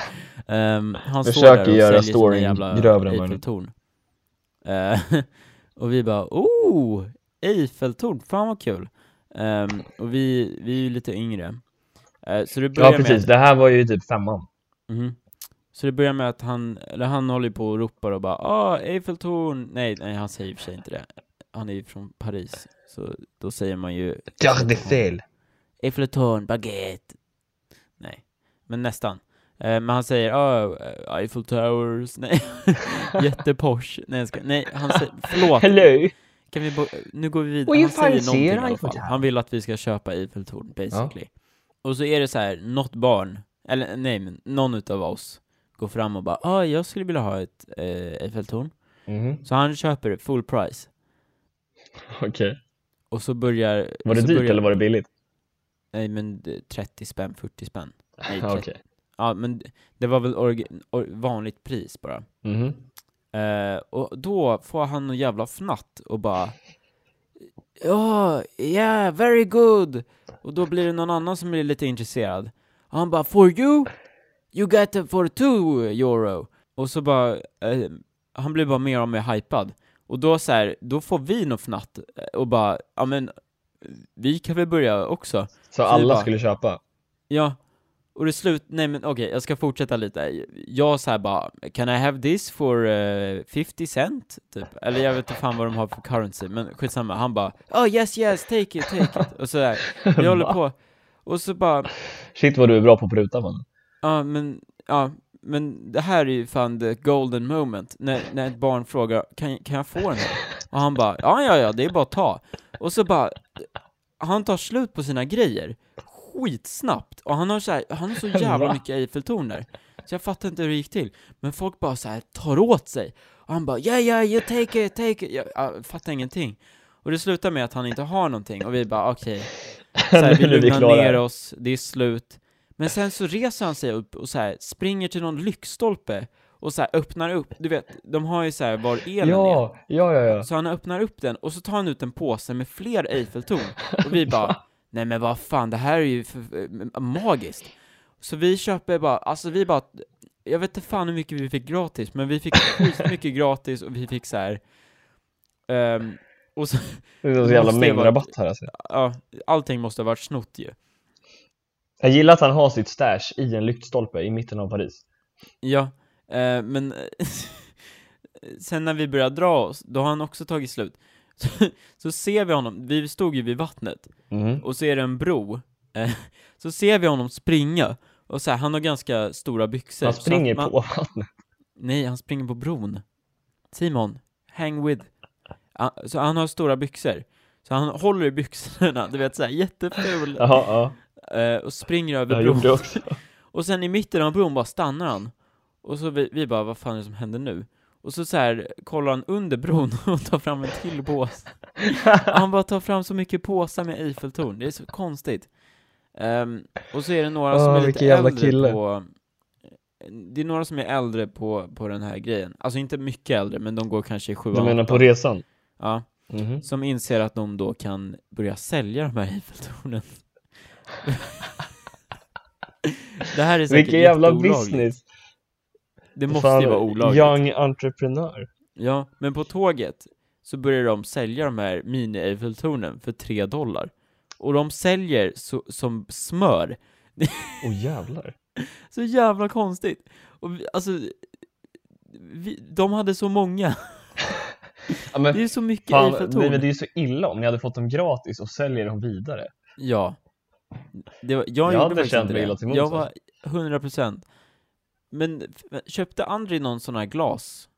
Speaker 1: Ehm, han står
Speaker 2: Försöker
Speaker 1: där och
Speaker 2: göra
Speaker 1: säljer
Speaker 2: storyn
Speaker 1: sina
Speaker 2: grövre
Speaker 1: jävla
Speaker 2: än vad den-
Speaker 1: Eiffeltorn. Eh, och vi bara, oh, Eiffeltorn, fan vad kul. Ehm, och vi, vi är ju lite yngre. Eh, så det börjar
Speaker 2: Ja precis,
Speaker 1: med,
Speaker 2: det här var ju typ femman.
Speaker 1: Mhm. så det börjar med att han, eller han håller ju på och ropar och bara, ah, Eiffeltorn, nej, nej han säger i och för sig inte det. Han är ju från Paris, så då säger man ju
Speaker 2: Gardefel!
Speaker 1: Eiffeltorn, baguette. Nej, men nästan. Eh, men han säger oh, Eiffel Towers, nej, jätteposh, nej jag skojar. nej han säger, förlåt,
Speaker 2: Hello!
Speaker 1: kan vi bo- nu går vi vidare,
Speaker 2: Well, you
Speaker 1: han säger
Speaker 2: fancy
Speaker 1: någonting i
Speaker 2: an
Speaker 1: alla
Speaker 2: Eiffel
Speaker 1: fall.
Speaker 2: Tower.
Speaker 1: Han vill att vi ska köpa Eiffeltorn basically. Och så är det så här, något barn, eller nej men någon utav oss går fram och bara ah, jag skulle vilja ha ett eh, Eiffeltorn.
Speaker 2: Mhm,
Speaker 1: Så han köper det full price.
Speaker 2: Okej.
Speaker 1: Och så börjar...
Speaker 2: Var det
Speaker 1: så
Speaker 2: dyrt
Speaker 1: börjar,
Speaker 2: eller var det billigt?
Speaker 1: Nej men eh, 30 spänn, 40 spänn. Nej,
Speaker 2: Ah,
Speaker 1: 30.
Speaker 2: Okej.
Speaker 1: Ja men d- det var väl orgi- or, vanligt pris bara.
Speaker 2: Mhm.
Speaker 1: Eh, och då får han någon jävla fnatt och bara Ja, yeah, very good! Och då blir det någon annan som blir lite intresserad. Och han bara 'For you? You get it for two euro' Och så bara, eh, han blir bara mer och mer hypad. Och då så här, då får vi någon fnatt eh, och bara, ja men, vi kan väl börja också?
Speaker 2: Så
Speaker 1: vi
Speaker 2: alla
Speaker 1: bara-
Speaker 2: skulle köpa?
Speaker 1: Ja, och det slut, nej men okej, jag ska fortsätta lite. Jag så här bara, can I have this for eh, 50 cent? Typ. Eller jag vet inte fan vad de har för currency, men skitsamma. Han bara, oh yes yes, take it, take it. Och så där. Vi håller på. Och så bara,
Speaker 2: Shit vad du är bra på pruta man.
Speaker 1: ja men, ja, men det här är ju fan the golden moment. När, när ett barn frågar, kan, kan jag få den här? Och han bara, ja ja ja, det är bara att ta. Och så bara, han tar slut på sina grejer skitsnabbt. Och han har så här, han har så jävla
Speaker 2: Va?
Speaker 1: mycket Eiffeltorn där. Så jag fattar inte hur det gick till. Men folk bara så här tar åt sig. Och han bara, yeah yeah, you take it, take it. Jag, jag fattar ingenting. Och det slutar med att han inte har någonting och vi bara okej, Så här,
Speaker 2: Nu
Speaker 1: vi
Speaker 2: är vi
Speaker 1: lugnar
Speaker 2: klara.
Speaker 1: ner oss, det är slut. Men sen så reser han sig upp och så här, springer till någon lyktstolpe och så här, öppnar upp, du vet, de har ju så här var elen är.
Speaker 2: Ja, ja, ja, ja.
Speaker 1: Så han öppnar upp den och så tar han ut en påse med fler Eiffeltorn och vi bara Nej men vad fan, det här är ju för, eh, magiskt. Så vi köper bara, alltså vi bara Jag vet inte fan hur mycket vi fick gratis, men vi fick mycket gratis och vi fick så här. ehm, och så,
Speaker 2: Det är så
Speaker 1: Det
Speaker 2: jävla
Speaker 1: måste ju
Speaker 2: mängdrabatt
Speaker 1: vara-
Speaker 2: rabatt här alltså.
Speaker 1: ja, allting måste ha varit snott ju.
Speaker 2: Jag gillar att han har sitt stash i en lyktstolpe i mitten av Paris.
Speaker 1: Ja, eh, men sen när vi börjar dra oss, då har han också tagit slut. Så, så ser vi honom, vi stod ju vid vattnet,
Speaker 2: Mhm.
Speaker 1: och så är det en bro. Eh, så ser vi honom springa, och så här, han har ganska stora byxor.
Speaker 2: Han
Speaker 1: så att
Speaker 2: springer
Speaker 1: man-
Speaker 2: på vattnet.
Speaker 1: Nej, han springer på bron. Simon, hang with. Ah, Så han har stora byxor. Så han håller i byxorna, du vet såhär jätteful,
Speaker 2: Jaha, ja.
Speaker 1: eh, och springer över
Speaker 2: Jag gjorde det
Speaker 1: bron.
Speaker 2: också.
Speaker 1: Och sen i mitten av bron bara stannar han. Och så vi, vi bara, vad fan är det som händer nu? Och så, så här kollar han under bron och tar fram en till påse. Han bara tar fram så mycket påsar med Eiffeltorn, det är så konstigt. Ehm, och så är det några som
Speaker 2: Åh,
Speaker 1: är lite
Speaker 2: vilken jävla
Speaker 1: äldre
Speaker 2: kille.
Speaker 1: på... Det är några som är äldre på, på den här grejen. Alltså inte mycket äldre, men de går kanske i
Speaker 2: Du
Speaker 1: sjuan,
Speaker 2: menar på
Speaker 1: åttan.
Speaker 2: resan?
Speaker 1: Ja,
Speaker 2: Mhm.
Speaker 1: som inser att de då kan börja sälja de här Eiffeltornen. det här är säkert
Speaker 2: Vilken jävla
Speaker 1: jätteolagligt.
Speaker 2: business!
Speaker 1: Det måste ju vara olagligt.
Speaker 2: Young entreprenör.
Speaker 1: Ja, men på tåget så börjar de sälja de här mini Eiffeltornen för 3 dollar. Och de säljer så, som smör.
Speaker 2: Åh jävlar.
Speaker 1: Så jävla konstigt. Och vi, alltså, vi, de hade så många.
Speaker 2: Ja, men
Speaker 1: Det är så mycket
Speaker 2: Fan, nej, men det
Speaker 1: Eiffeltorn.
Speaker 2: är ju så illa om ni hade fått dem gratis och säljer dem vidare.
Speaker 1: Ja. Det var, jag,
Speaker 2: Jag
Speaker 1: gjorde
Speaker 2: hade
Speaker 1: faktiskt
Speaker 2: känt
Speaker 1: inte
Speaker 2: mig
Speaker 1: det.
Speaker 2: illa till mods, alltså.
Speaker 1: Jag var 100 procent. Men f- köpte Andri någon sån här glas?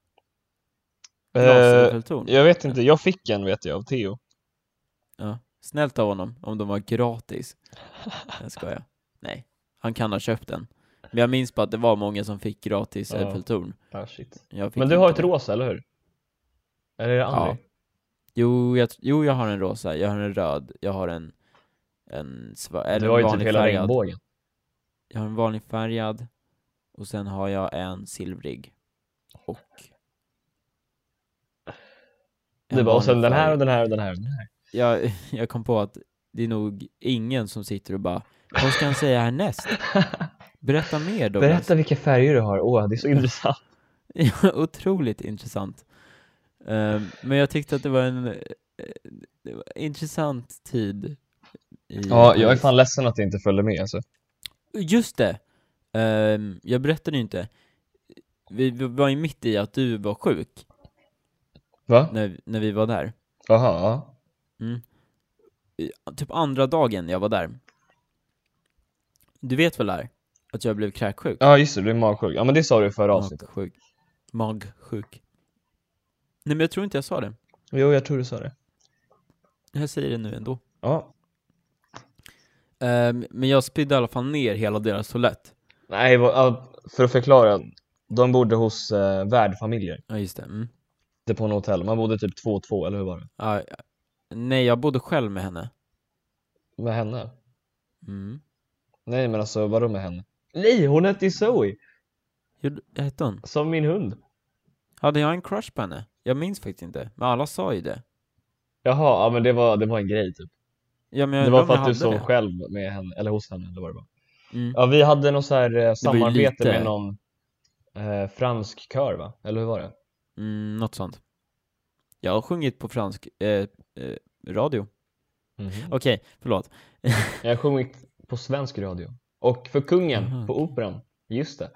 Speaker 1: Glas uh,
Speaker 2: Eh, jag vet inte, jag fick en vet jag av Theo.
Speaker 1: Ja, snällt av honom om de var gratis. Jag skojar. Nej, han kan ha köpt den. Men jag minns bara att det var många som fick gratis
Speaker 2: Ja.
Speaker 1: Eiffeltorn.
Speaker 2: Ah, shit.
Speaker 1: Jag fick
Speaker 2: Men du har ett
Speaker 1: inte.
Speaker 2: rosa, eller hur? Eller är det André?
Speaker 1: Ja. Jo jag, tr- jo, jag har en rosa, jag har en röd, jag har en... En svart,
Speaker 2: du
Speaker 1: eller
Speaker 2: har
Speaker 1: en
Speaker 2: ju typ
Speaker 1: vanlig
Speaker 2: hela
Speaker 1: färgad.
Speaker 2: regnbågen.
Speaker 1: Jag har en vanlig färgad. Och sen har jag en silvrig. Och...
Speaker 2: Du
Speaker 1: en
Speaker 2: bara, och
Speaker 1: vanlig
Speaker 2: sen den här
Speaker 1: färg.
Speaker 2: och den här och den här. och den här.
Speaker 1: jag, jag kom på att det är nog ingen som sitter och bara Vad ska han säga härnäst? Berätta mer då.
Speaker 2: Berätta vilka färger du har, åh det är så intressant.
Speaker 1: Otroligt intressant. Ehm, men jag tyckte att det var en eh, det var en intressant tid. i
Speaker 2: Ja, jag är
Speaker 1: Paris.
Speaker 2: fan ledsen att jag inte följde med alltså.
Speaker 1: Just det! Ehm, jag berättade ju inte. Vi vi var ju mitt i att du var sjuk
Speaker 2: Va?
Speaker 1: när, när vi var där.
Speaker 2: Jaha, ja.
Speaker 1: I- Typ andra dagen jag var där. Du vet väl det här? Att jag blev kräksjuk?
Speaker 2: Ja just det, du blev magsjuk. Ja men det sa du i förra avsnittet.
Speaker 1: Magsjuk. Magsjuk. Nej men jag tror inte jag sa det.
Speaker 2: Jo, jag tror du sa det.
Speaker 1: Jag säger det nu ändå.
Speaker 2: Ja.
Speaker 1: Ehm, men jag spydde i alla fall ner hela deras toalett.
Speaker 2: Nej, vad- ja, för att förklara. De bodde hos eh, värdfamiljer.
Speaker 1: Ja just det. Mm.
Speaker 2: Inte på något hotell. Man bodde typ två och två, eller hur var det?
Speaker 1: Ja, ja. nej, jag bodde själv med henne.
Speaker 2: Med henne?
Speaker 1: Mm.
Speaker 2: Nej men alltså vadå med henne? Nej, hon hette Zoe!
Speaker 1: Gjorde- Hette hon?
Speaker 2: Som min hund.
Speaker 1: Hade jag en crush på henne? Jag minns faktiskt inte, men alla sa ju det.
Speaker 2: Jaha, ja men det var, det var en grej typ.
Speaker 1: Ja, men jag
Speaker 2: Det
Speaker 1: undrar
Speaker 2: var
Speaker 1: om
Speaker 2: för
Speaker 1: jag
Speaker 2: att du
Speaker 1: hade
Speaker 2: sov
Speaker 1: det.
Speaker 2: själv med henne, eller hos henne eller vad det var.
Speaker 1: Mm.
Speaker 2: Ja, vi hade något så här eh, samarbete
Speaker 1: lite-
Speaker 2: med någon eh, fransk kör va? Eller hur var det?
Speaker 1: Mm, något sånt. Jag har sjungit på fransk eh, eh, radio. Okej, förlåt.
Speaker 2: Jag har sjungit på svensk radio. Och för kungen
Speaker 1: Aha.
Speaker 2: på operan. Just det.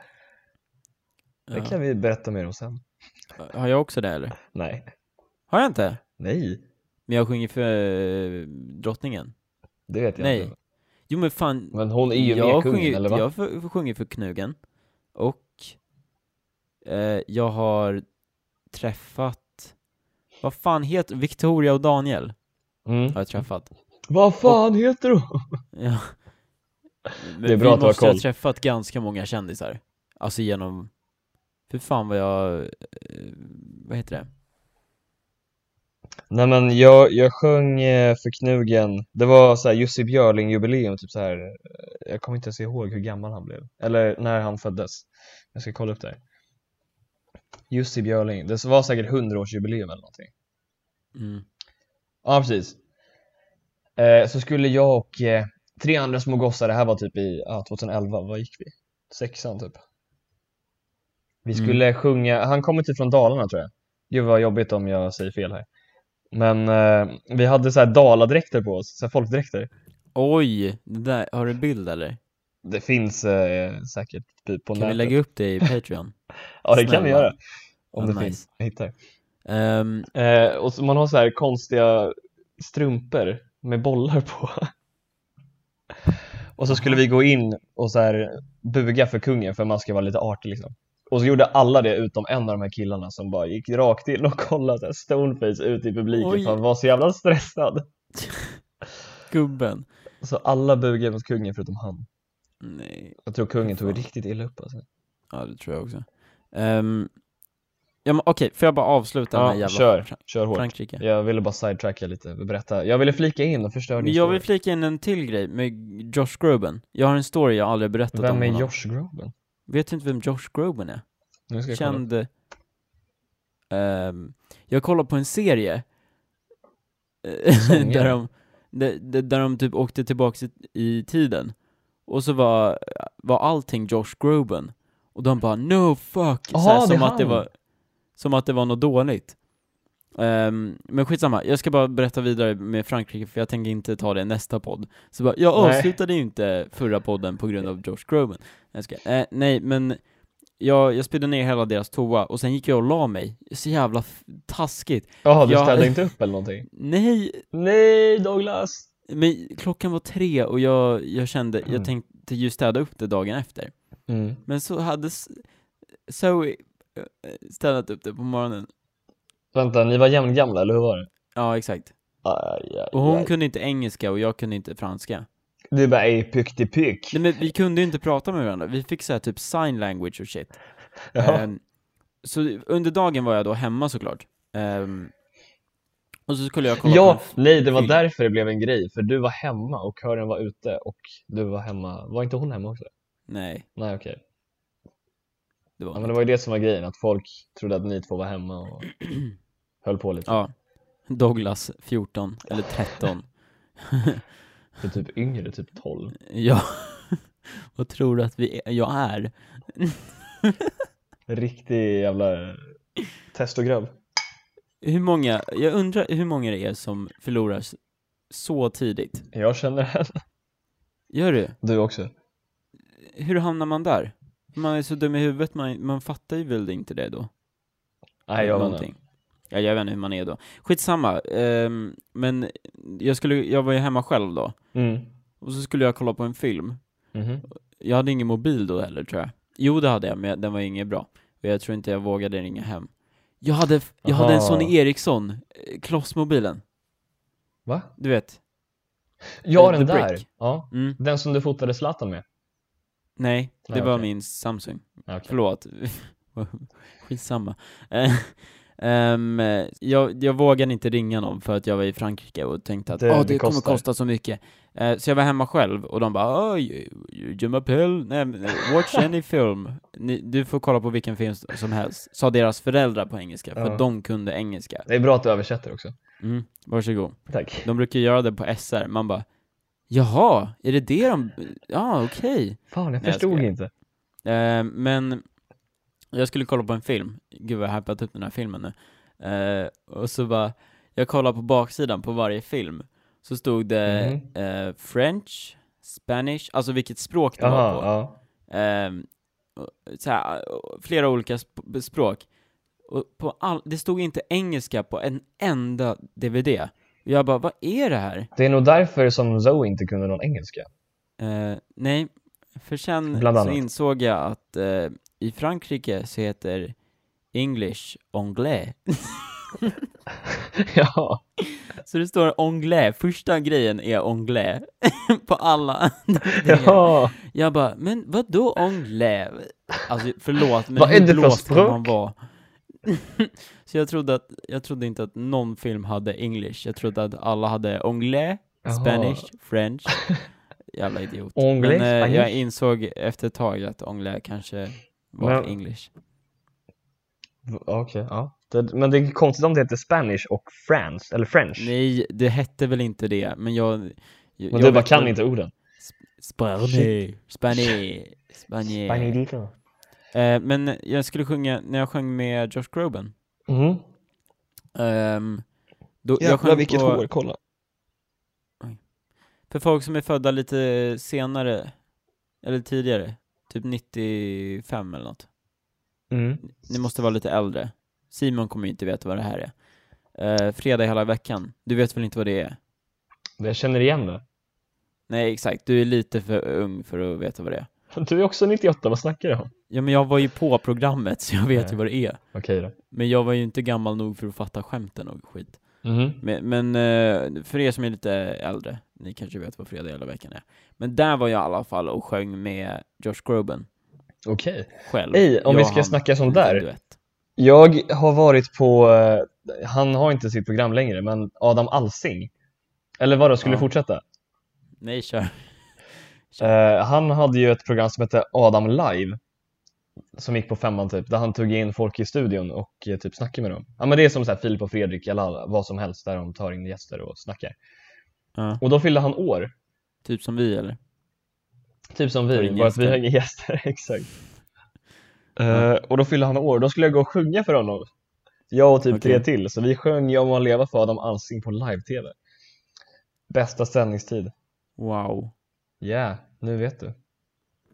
Speaker 2: Det
Speaker 1: Ja.
Speaker 2: kan vi berätta mer om sen.
Speaker 1: Eh, Har jag också det eller?
Speaker 2: Nej.
Speaker 1: Har jag inte?
Speaker 2: Nej.
Speaker 1: Men jag sjunger för eh, drottningen.
Speaker 2: Det vet jag
Speaker 1: Nej.
Speaker 2: inte.
Speaker 1: Jo men fan,
Speaker 2: Men hon är ju
Speaker 1: jag
Speaker 2: med kungen
Speaker 1: sjunger,
Speaker 2: eller va?
Speaker 1: jag f- sjunger för Knugen, och eh, jag har träffat, vad fan heter, Victoria och Daniel
Speaker 2: Mm.
Speaker 1: har jag träffat.
Speaker 2: Vad fan heter hon?
Speaker 1: Ja. Men
Speaker 2: Det är bra
Speaker 1: vi
Speaker 2: att du har
Speaker 1: måste ha
Speaker 2: koll.
Speaker 1: träffat ganska många kändisar, alltså genom, för fan vad jag, eh, vad heter det?
Speaker 2: Nej men jag, jag sjöng eh, för Knugen. Det var så här Jussi Björling jubileum typ så här. eh, Jag kommer inte ens ihåg hur gammal han blev. Eller när han föddes. Jag ska kolla upp det. här. Jussi Björling. Det var säkert 100-årsjubileum eller någonting.
Speaker 1: Mm.
Speaker 2: Ja, precis. Eh, så skulle jag och eh, tre andra små gossar, det här var typ i ja, 2011, vad gick vi? Sexan typ. Vi
Speaker 1: Mm.
Speaker 2: skulle sjunga, han kommer typ från Dalarna tror jag. Gud vad jobbigt om jag säger fel här. Men eh, vi hade så här daladräkter på oss, så här folkdräkter.
Speaker 1: Oj, det där, har du bild eller?
Speaker 2: Det finns eh, säkert typ på
Speaker 1: Kan vi
Speaker 2: nätet.
Speaker 1: lägga upp det i Patreon?
Speaker 2: Ja, det kan vi
Speaker 1: Snälla.
Speaker 2: göra. Om
Speaker 1: Vad
Speaker 2: det
Speaker 1: nice.
Speaker 2: finns. Jag hittar.
Speaker 1: Ehm,
Speaker 2: Eh, och så man har så här konstiga strumpor med bollar på. Och så skulle vi gå in och så här buga för kungen för man ska vara lite artig liksom. Och så gjorde alla det utom en av de här killarna som bara gick rakt in och kollade så här stoneface ut i publiken
Speaker 1: Oj.
Speaker 2: för han var så jävla stressad.
Speaker 1: gubben.
Speaker 2: Så alla bugade mot kungen förutom han.
Speaker 1: Nej.
Speaker 2: Jag tror kungen tog
Speaker 1: Fan.
Speaker 2: riktigt illa upp alltså.
Speaker 1: Ja, det tror jag också. Ehm, ja, men okej, får jag bara avsluta den här
Speaker 2: Ja,
Speaker 1: jävla
Speaker 2: kör,
Speaker 1: Fra-
Speaker 2: kör hårt.
Speaker 1: Frankrike?
Speaker 2: Jag ville bara sidetracka lite, berätta. Jag ville flika in och förstöra
Speaker 1: Men
Speaker 2: din
Speaker 1: jag vill
Speaker 2: story.
Speaker 1: flika in en till grej med Josh Groban. Jag har en story jag aldrig berättat om
Speaker 2: Vem är
Speaker 1: honom.
Speaker 2: Josh Groban?
Speaker 1: Vet du inte vem Josh Groban är?
Speaker 2: Nu ska jag kolla.
Speaker 1: Känd... ehm, jag kollar på en serie. eh,
Speaker 2: Sångare.
Speaker 1: där, de, där, där- där de typ åkte tillbaka i, i tiden. Och så var, var allting Josh Groban. Och de bara 'No fuck'
Speaker 2: Aha,
Speaker 1: Såhär,
Speaker 2: det är
Speaker 1: som, att
Speaker 2: han.
Speaker 1: det var, som att det var något dåligt. Ehm, men skitsamma, jag ska bara berätta vidare med Frankrike för jag tänker inte ta det i nästa podd. Så bara, jag
Speaker 2: Nej.
Speaker 1: avslutade ju inte förra podden på grund av Josh Groban. Jag ska, eh, nej, men jag, jag spydde ner hela deras toa och sen gick jag och la mig. Så jävla f- taskigt.
Speaker 2: Jaha, du
Speaker 1: Ja.
Speaker 2: ställde inte upp eller någonting?
Speaker 1: Nej,
Speaker 2: Nej, Douglas!
Speaker 1: men klockan var tre och jag, jag kände,
Speaker 2: Mm.
Speaker 1: jag tänkte ju städa upp det dagen efter.
Speaker 2: Mm.
Speaker 1: Men så hade S- Zoe eh, städat upp det på morgonen.
Speaker 2: Vänta, ni var jämngamla, eller hur var det?
Speaker 1: Ja, exakt.
Speaker 2: Aj, aj,
Speaker 1: Och hon
Speaker 2: aj.
Speaker 1: kunde inte engelska och jag kunde inte franska.
Speaker 2: Det är bara ej pyck till pyck.
Speaker 1: Nej men vi kunde ju inte prata med varandra, vi fick så här typ sign language och shit.
Speaker 2: Jaha.
Speaker 1: Ehm, så under dagen var jag då hemma såklart. Ehm, och så skulle jag kolla
Speaker 2: Ja,
Speaker 1: på
Speaker 2: nej, det var
Speaker 1: film.
Speaker 2: därför det blev en grej. För du var hemma och kören var ute och du var hemma. Var inte hon hemma också?
Speaker 1: Nej,
Speaker 2: Nej, okej.
Speaker 1: det var
Speaker 2: Ja, men det var ju det som var grejen, att folk trodde att ni två var hemma och höll på lite.
Speaker 1: Ja, Douglas 14, eller 13.
Speaker 2: Du är typ yngre, typ 12.
Speaker 1: ja, vad tror du att vi är? jag är?
Speaker 2: Riktig jävla testograb.
Speaker 1: Hur många, jag undrar hur många det är som förlorar s- så tidigt?
Speaker 2: Jag känner henne.
Speaker 1: Gör du?
Speaker 2: Du också.
Speaker 1: Hur hamnar man där? Man är så dum i huvudet, man, man fattar ju väl inte det då?
Speaker 2: Nej, jag var
Speaker 1: någonting. Ja, jag vet inte hur man är då. Skitsamma, ehm, men jag, skulle, jag var ju hemma själv då,
Speaker 2: Mm.
Speaker 1: och så skulle jag kolla på en film.
Speaker 2: Mhm.
Speaker 1: Jag hade ingen mobil då heller tror jag. Jo det hade jag, men den var inget bra. Och jag tror inte jag vågade ringa hem. Jag hade, jag hade en
Speaker 2: Aha.
Speaker 1: Sony Ericsson, eh, klossmobilen.
Speaker 2: Va?
Speaker 1: Du vet?
Speaker 2: Ja,
Speaker 1: Eh, The
Speaker 2: den där.
Speaker 1: Brick.
Speaker 2: Ja.
Speaker 1: Mm.
Speaker 2: Den som du fotade Zlatan med?
Speaker 1: Nej, det
Speaker 2: Nej,
Speaker 1: var
Speaker 2: okej.
Speaker 1: min Samsung.
Speaker 2: Ja, okej.
Speaker 1: Förlåt. Skitsamma. Eh, ehm, jag, jag vågade inte ringa någon för att jag var i Frankrike och tänkte att "Ah,
Speaker 2: Det-
Speaker 1: det,
Speaker 2: det
Speaker 1: det kommer
Speaker 2: kostar."
Speaker 1: kosta så mycket. Eh, så jag var hemma själv och de bara "Oj, you- Je m'appelle, nej men, watch any film. Ni, du får kolla på vilken film som helst. Sa deras föräldrar på engelska, för
Speaker 2: Ja.
Speaker 1: att de kunde engelska.
Speaker 2: Det är bra att du översätter också.
Speaker 1: Mm, varsågod.
Speaker 2: Tack.
Speaker 1: De brukar göra det på SR, man bara Jaha, är det det de... Ja, okej.
Speaker 2: Fan, jag
Speaker 1: Nej, jag
Speaker 2: förstod
Speaker 1: skojar.
Speaker 2: inte.
Speaker 1: Eh, men jag skulle kolla på en film, gud vad jag har hypat upp den här filmen nu. Eh, och så bara, jag kollade på baksidan på varje film, så stod det eh, French, Spanish, alltså vilket språk det var på.
Speaker 2: Jaha, ja.
Speaker 1: Ehm, och- så här, och flera olika sp- språk. Och på all, det stod inte engelska på en enda DVD. Och jag bara, vad är det här?
Speaker 2: Det är nog därför som Zoe inte kunde någon engelska.
Speaker 1: Eh, nej, för sen
Speaker 2: Bland
Speaker 1: så
Speaker 2: annat.
Speaker 1: insåg jag att eh, i Frankrike så heter English anglais.
Speaker 2: ja.
Speaker 1: Så det står anglais, första grejen är anglais på alla.
Speaker 2: Ja.
Speaker 1: Jag bara, men vad då anglais? Alltså förlåt, men
Speaker 2: Vad är
Speaker 1: hur
Speaker 2: det för
Speaker 1: blåst kan
Speaker 2: språk?
Speaker 1: man vara? så jag trodde, att, jag trodde inte att någon film hade English, jag trodde att alla hade anglais,
Speaker 2: Jaha.
Speaker 1: Spanish, French. Jävla idiot.
Speaker 2: Anglais,
Speaker 1: Men eh, jag
Speaker 2: Spanish.
Speaker 1: insåg efter ett tag att anglais kanske var
Speaker 2: Men-
Speaker 1: English.
Speaker 2: V- Okej, ja. Det, men det är konstigt om det heter Spanish och France, eller French.
Speaker 1: Nej, det hette väl inte det, men jag... jag
Speaker 2: men
Speaker 1: jag
Speaker 2: du bara
Speaker 1: vet
Speaker 2: kan
Speaker 1: väl-
Speaker 2: inte orden.
Speaker 1: Spanish, Spanish, Spanish.
Speaker 2: Spanidito.
Speaker 1: Eh, men jag skulle sjunga, när jag sjöng med Josh Groban
Speaker 2: Mm.
Speaker 1: Ehm, då, jag sjöng på,
Speaker 2: kolla.
Speaker 1: För folk som är födda lite senare, eller tidigare, typ 95 eller något.
Speaker 2: Mm.
Speaker 1: Ni måste vara lite äldre. Simon kommer ju inte veta vad det här är. Eh, fredag hela veckan, du vet väl inte vad det är?
Speaker 2: Jag känner igen det.
Speaker 1: Nej exakt, du är lite för ung för att veta vad det är.
Speaker 2: Du är också 98, vad snackar du om?
Speaker 1: Ja men jag var ju på programmet så jag vet ju vad det är.
Speaker 2: Okej då.
Speaker 1: Men jag var ju inte gammal nog för att fatta skämten och skit.
Speaker 2: Mhm.
Speaker 1: Men, men eh, för er som är lite äldre, ni kanske vet vad fredag hela veckan är. Men där var jag i alla fall och sjöng med Josh Groban
Speaker 2: Okej.
Speaker 1: själv.
Speaker 2: Ey, om
Speaker 1: Jag
Speaker 2: vi
Speaker 1: och
Speaker 2: ska
Speaker 1: han,
Speaker 2: snacka
Speaker 1: en
Speaker 2: sånt
Speaker 1: liten
Speaker 2: där.
Speaker 1: duett.
Speaker 2: Jag har varit på, eh, han har inte sitt program längre, men Adam Alsing. Eller vadå, skulle
Speaker 1: Ja.
Speaker 2: du fortsätta?
Speaker 1: Nej, kör.
Speaker 2: Eh, han hade ju ett program som hette Adam Live. Som gick på femman typ, där han tog in folk i studion och eh, typ snackade med dem. Ja men det är som så här Filip och Fredrik eller alla- vad som helst där de tar in gäster och snackar.
Speaker 1: Ja,
Speaker 2: Och då fyllde han år,
Speaker 1: typ som vi eller?
Speaker 2: typ som
Speaker 1: Tar
Speaker 2: vi,
Speaker 1: in
Speaker 2: bara att vi
Speaker 1: gäster.
Speaker 2: har inga gäster, exakt. Eh,
Speaker 1: Ja.
Speaker 2: och då fyllde han år, då skulle jag gå och sjunga för honom. Jag och typ
Speaker 1: Okej.
Speaker 2: tre till, så vi sjöng Jag må leva för Adam Alsing på live-tv. Bästa sändningstid.
Speaker 1: Wow.
Speaker 2: Yeah, nu vet du.
Speaker 1: Eh,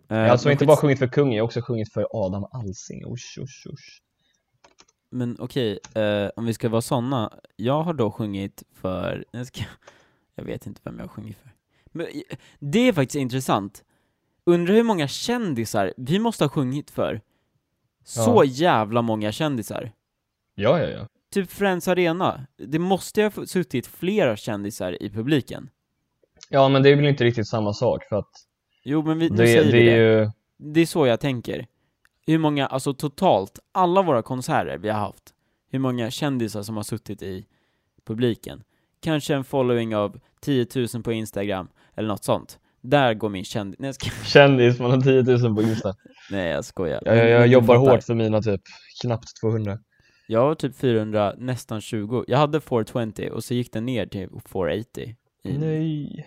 Speaker 2: Jag har alltså
Speaker 1: men
Speaker 2: inte
Speaker 1: skits-
Speaker 2: bara sjungit för kungen, jag har också sjungit för Adam Alsing. Usch, usch, usch.
Speaker 1: Men okej, eh, om vi ska vara såna. Jag har då sjungit för, jag, ska, jag vet inte vem jag har sjungit för. Men, eh, det är faktiskt intressant. Undrar hur många kändisar vi måste ha sjungit för. Så
Speaker 2: Ja.
Speaker 1: jävla många kändisar.
Speaker 2: Ja, ja, ja.
Speaker 1: Typ Friends Arena, det måste ju ha suttit flera kändisar i publiken.
Speaker 2: Ja, men det är väl inte riktigt samma sak för att
Speaker 1: Jo men vi, nu
Speaker 2: det,
Speaker 1: säger
Speaker 2: det
Speaker 1: vi det.
Speaker 2: är ju...
Speaker 1: Det är så jag tänker. Hur många, alltså totalt, alla våra konserter vi har haft, hur många kändisar som har suttit i publiken. Kanske en following av 10 000 på Instagram, eller något sånt. Där går min kändis... Nej, jag ska...
Speaker 2: Kändis, man har 10 000 på Insta. Mm,
Speaker 1: Nej jag skojar.
Speaker 2: Jag,
Speaker 1: Men-
Speaker 2: jag,
Speaker 1: men
Speaker 2: jag
Speaker 1: du
Speaker 2: jobbar
Speaker 1: fattar.
Speaker 2: hårt för mina typ knappt 200.
Speaker 1: Jag var typ 400, nästan 20. Jag hade 420 och så gick den ner till 480. I...
Speaker 2: Nej,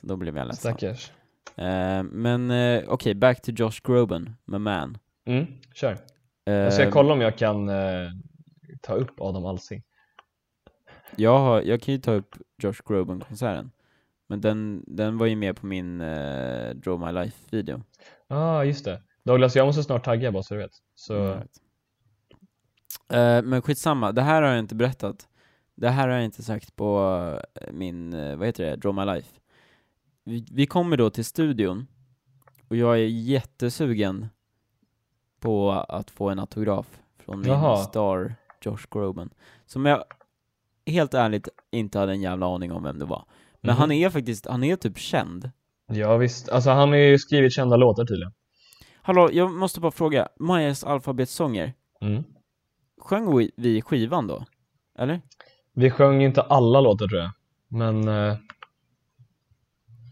Speaker 1: Så då blev jag ledsen.
Speaker 2: stackars.
Speaker 1: Eh, men eh, okej, back to Josh Groban, my man.
Speaker 2: Mm, kör.
Speaker 1: Eh,
Speaker 2: Jag ska kolla om jag kan eh, ta upp Adam Alsing.
Speaker 1: Jag, har, jag kan ju ta upp Josh Groban-konserten. Men den, den var ju med på min eh, Draw My Life-video.
Speaker 2: Ja, ah, just det. Douglas, jag måste snart tagga bara så du vet. Så,
Speaker 1: Mm. Eh, men skitsamma, det här har jag inte berättat. Det här har jag inte sagt på eh, min, eh, vad heter det, Draw My Life. Vi, vi kommer då till studion Och jag är jättesugen på att få en autograf från min
Speaker 2: Jaha.
Speaker 1: star Josh Groban. Som jag helt ärligt inte hade en jävla aning om vem det var. Men
Speaker 2: Mhm.
Speaker 1: han är faktiskt, han är typ känd.
Speaker 2: Ja visst, alltså han har ju skrivit kända låtar tydligen.
Speaker 1: Hallå, jag måste bara fråga, Majas alfabetsånger,
Speaker 2: Mm.
Speaker 1: sjöng vi- vi skivan då? Eller?
Speaker 2: Vi sjöng ju inte alla låtar tror jag, men eh,